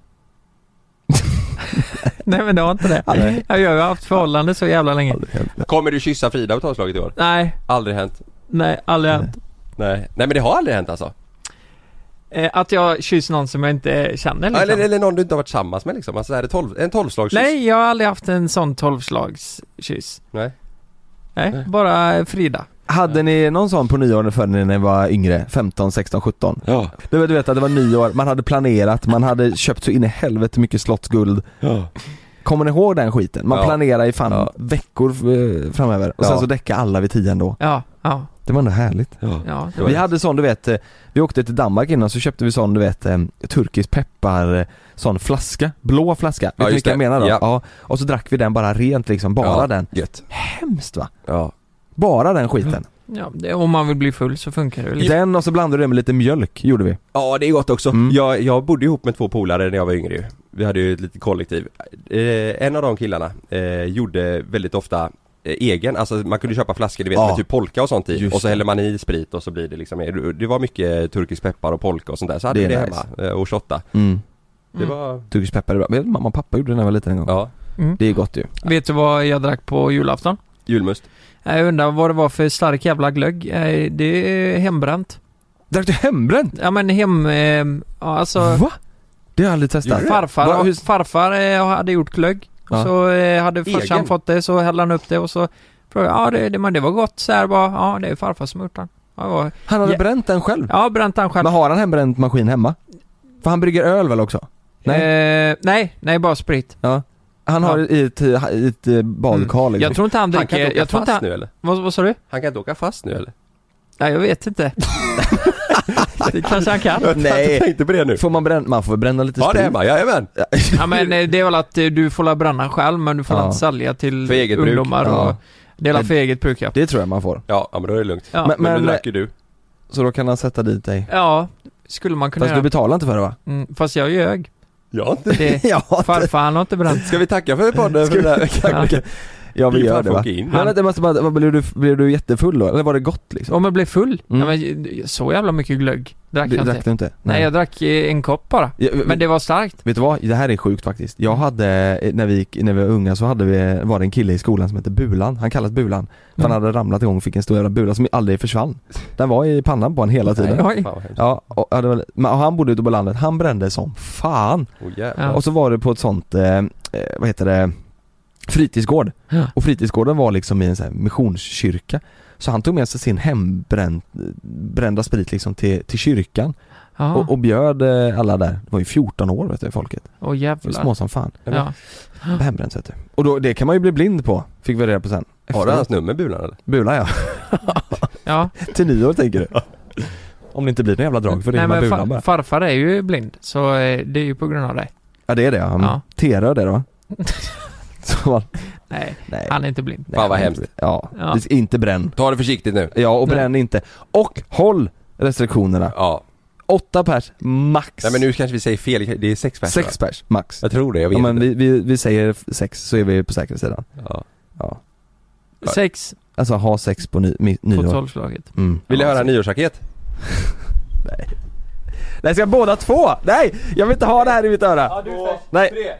Nej men det har inte det. Aldrig. Jag har ju haft förhållande så jävla länge. Aldrig hänt. Kommer du kyssa Frida på tolvslaget i år? Nej, Aldrig hänt. nej, aldrig hänt. Nej. Nej men det har aldrig hänt alltså? Eh, att jag kysser någon som jag inte känner Ja, liksom. Eller, eller någon du inte har varit tillsammans med liksom? Alltså är det tolv, en tolvslagskyss? Nej, jag har aldrig haft en sån tolvslagskyss. Nej. Nej, Nej. bara Frida. Hade ni någon sån på nyår för när ni var yngre? 15, 16, 17? Ja. Det var, du vet att det var nyår, man hade planerat, man hade köpt så in i helvete mycket slottsguld Ja. Kommer ni ihåg den skiten? Man Ja. planerar i fan Ja. veckor eh, framöver och sen Ja. så däckar alla vid tio ändå Ja, ja, Det var ändå härligt ja. Det var Vi det. hade sån du vet, eh, vi åkte till Danmark innan så köpte vi sån du vet eh, turkisk peppar, eh, sån flaska, blå flaska, vet Ja, ni just vilka jag det. menar då? Ja. Ja, och så drack vi den bara rent liksom, bara Ja, den Gött. Hemskt va? Ja. Bara den Mm. skiten ja det, om man vill bli full så funkar det väl. lite. Den och så blandade du det med lite mjölk, gjorde vi Ja det är gott också. Mm. Jag, jag bodde ihop med två polare när jag var yngre ju. Vi hade ju ett litet kollektiv. Eh, en av de killarna eh, gjorde väldigt ofta eh, egen, alltså man kunde köpa flaskor du vet Ja. med typ polka och sånt i Just och så det. häller man i sprit och så blir det liksom, det var mycket turkisk peppar och polka och sånt där så hade Det vi det är nice. hemma eh, och shotta. mm. Det var, Turkisk peppar är bra, Vet du, mamma och pappa gjorde det när jag var liten en gång ja, Det är gott ju Vet du vad jag drack på julafton? julmust. Jag undrar vad det var för stark jävla glögg. Eh, Det är hembränt. Drack du hembränt? Ja men hem... Eh, ja, alltså... Va? Det har jag aldrig testat Va, Farfar, hur, farfar eh, hade gjort glögg. Ja. Så eh, hade Egen? farsan fått det så hällde han upp det och så frågade jag, ja det, det, men det var gott så här bara, ja det är farfar som har gjort den. Ja, det var- Han hade Ja. bränt den själv? Ja, bränt han själv. Men har han hembränt maskin hemma? För han brygger öl väl också? nej. Eh, nej, nej bara sprit. Han har Ja. i ett, i ett eh, badkar Mm. liksom. Jag tror inte han Han kan dricker, inte åka jag tror inte fast han, nu eller? vad, vad sa du? Han kan inte åka fast nu eller? Nej jag vet inte. det kanske han kan. Nej. Jag tänkte på det nu. Får man bränna, man får väl bränna lite Ja det är sprit? hemma, jajamän! Ja men eh, det är väl att eh, du får la bränna själv men du får Ja. la inte sälja till För eget bruk. ungdomar och Ja. det är la Men- för eget bruk ja. Det tror jag man får. Ja, ja men då är det lugnt. Ja, Men- Men, men- nu drack ju du. Så då kan han sätta dit dig. ja skulle man kunna Fast du göra. betalar inte för det va? Mm, fast jag ljög. Ja, inte. Det, ja, farfar han har inte bränt. Ska vi tacka för podden för Ska vi- den här veckan? Ja. ja vi Din gör farfar det va? åker in. Men vänta, jag måste bara, vad, blev, du, blev du jättefull då? Eller var det gott liksom? Om jag blev full? Mm. Nej, men eh, så jävla mycket glögg drack Du, jag inte. drack du inte? Nej, jag drack eh, en kopp bara. Ja, Men det var starkt. Vet du vad? Det här är sjukt faktiskt. Jag hade, eh, när vi, gick- när vi var unga så hade vi, eh, var det en kille i skolan som hette Bulan, han kallas Bulan. För han Mm. hade ramlat igång och fick en stor jävla bula som aldrig försvann. Den var i pannan på honom hela tiden. Nej, oj. Fan vad hemskt. Ja, och, ja, det var, men han bodde ute på landet, han brände som fan. Åh, jävlar. Ja. Och så var det på ett sånt, eh, eh, vad heter det, fritidsgård. Ja. Och fritidsgården var liksom i en sån här missionskyrka. Så han tog med sig sin hembrända sprit liksom till, till kyrkan Ja. och, och bjöd eh, alla där. Det var ju 14 år vet du, folket. Åh Det var jävlar. små som fan. Ja. Hembränt vet du. Och då, det kan man ju bli blind på, fick vi reda på sen. Har du hans nummer Bulan eller? Bula ja. ja. till nyår tänker du. Om det inte blir någon jävla drag för det Nej, är man men bulan far, bara. farfar är ju blind, så eh, det är ju på grund av det. Ja det är det ja. Mm. Ja. T-röd är det va? Så man, Nej, nej. han är inte blind. Nej, Fan, vad han- hemskt. Ja, Ja. Det ska inte bränn. Ta det försiktigt nu. Ja och Nej. bränn inte. Och håll restriktionerna. Ja. Åtta pers max. Nej men nu kanske vi säger fel, det är sex personer. sex pers max. Jag tror det, jag vet Ja, men inte. vi, vi, vi säger sex så är vi på säkra sidan. Ja. Ja. Sex Alltså ha sex på ny, mi, på nyår. tolvslaget. Mm. Vill du Ja, höra en sex. nyårsraket? Nej ska båda två? Nej! Jag vill inte ha det här i mitt öra. Nej, Tre!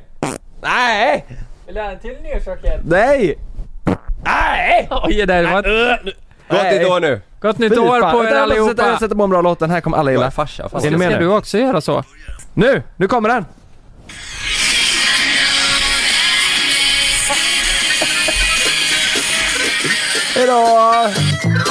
nej, Vill du ha en till nyårsraket? nej! Oj, där var ett Gott Nej. nytt år nu! gott nytt år på er allihopa. Jag sätter på en bra låt, den här kommer alla Jag är gilla. farsa, fan. Är ni med Ska nu? du också göra så? Nu, nu kommer den! Hejdå!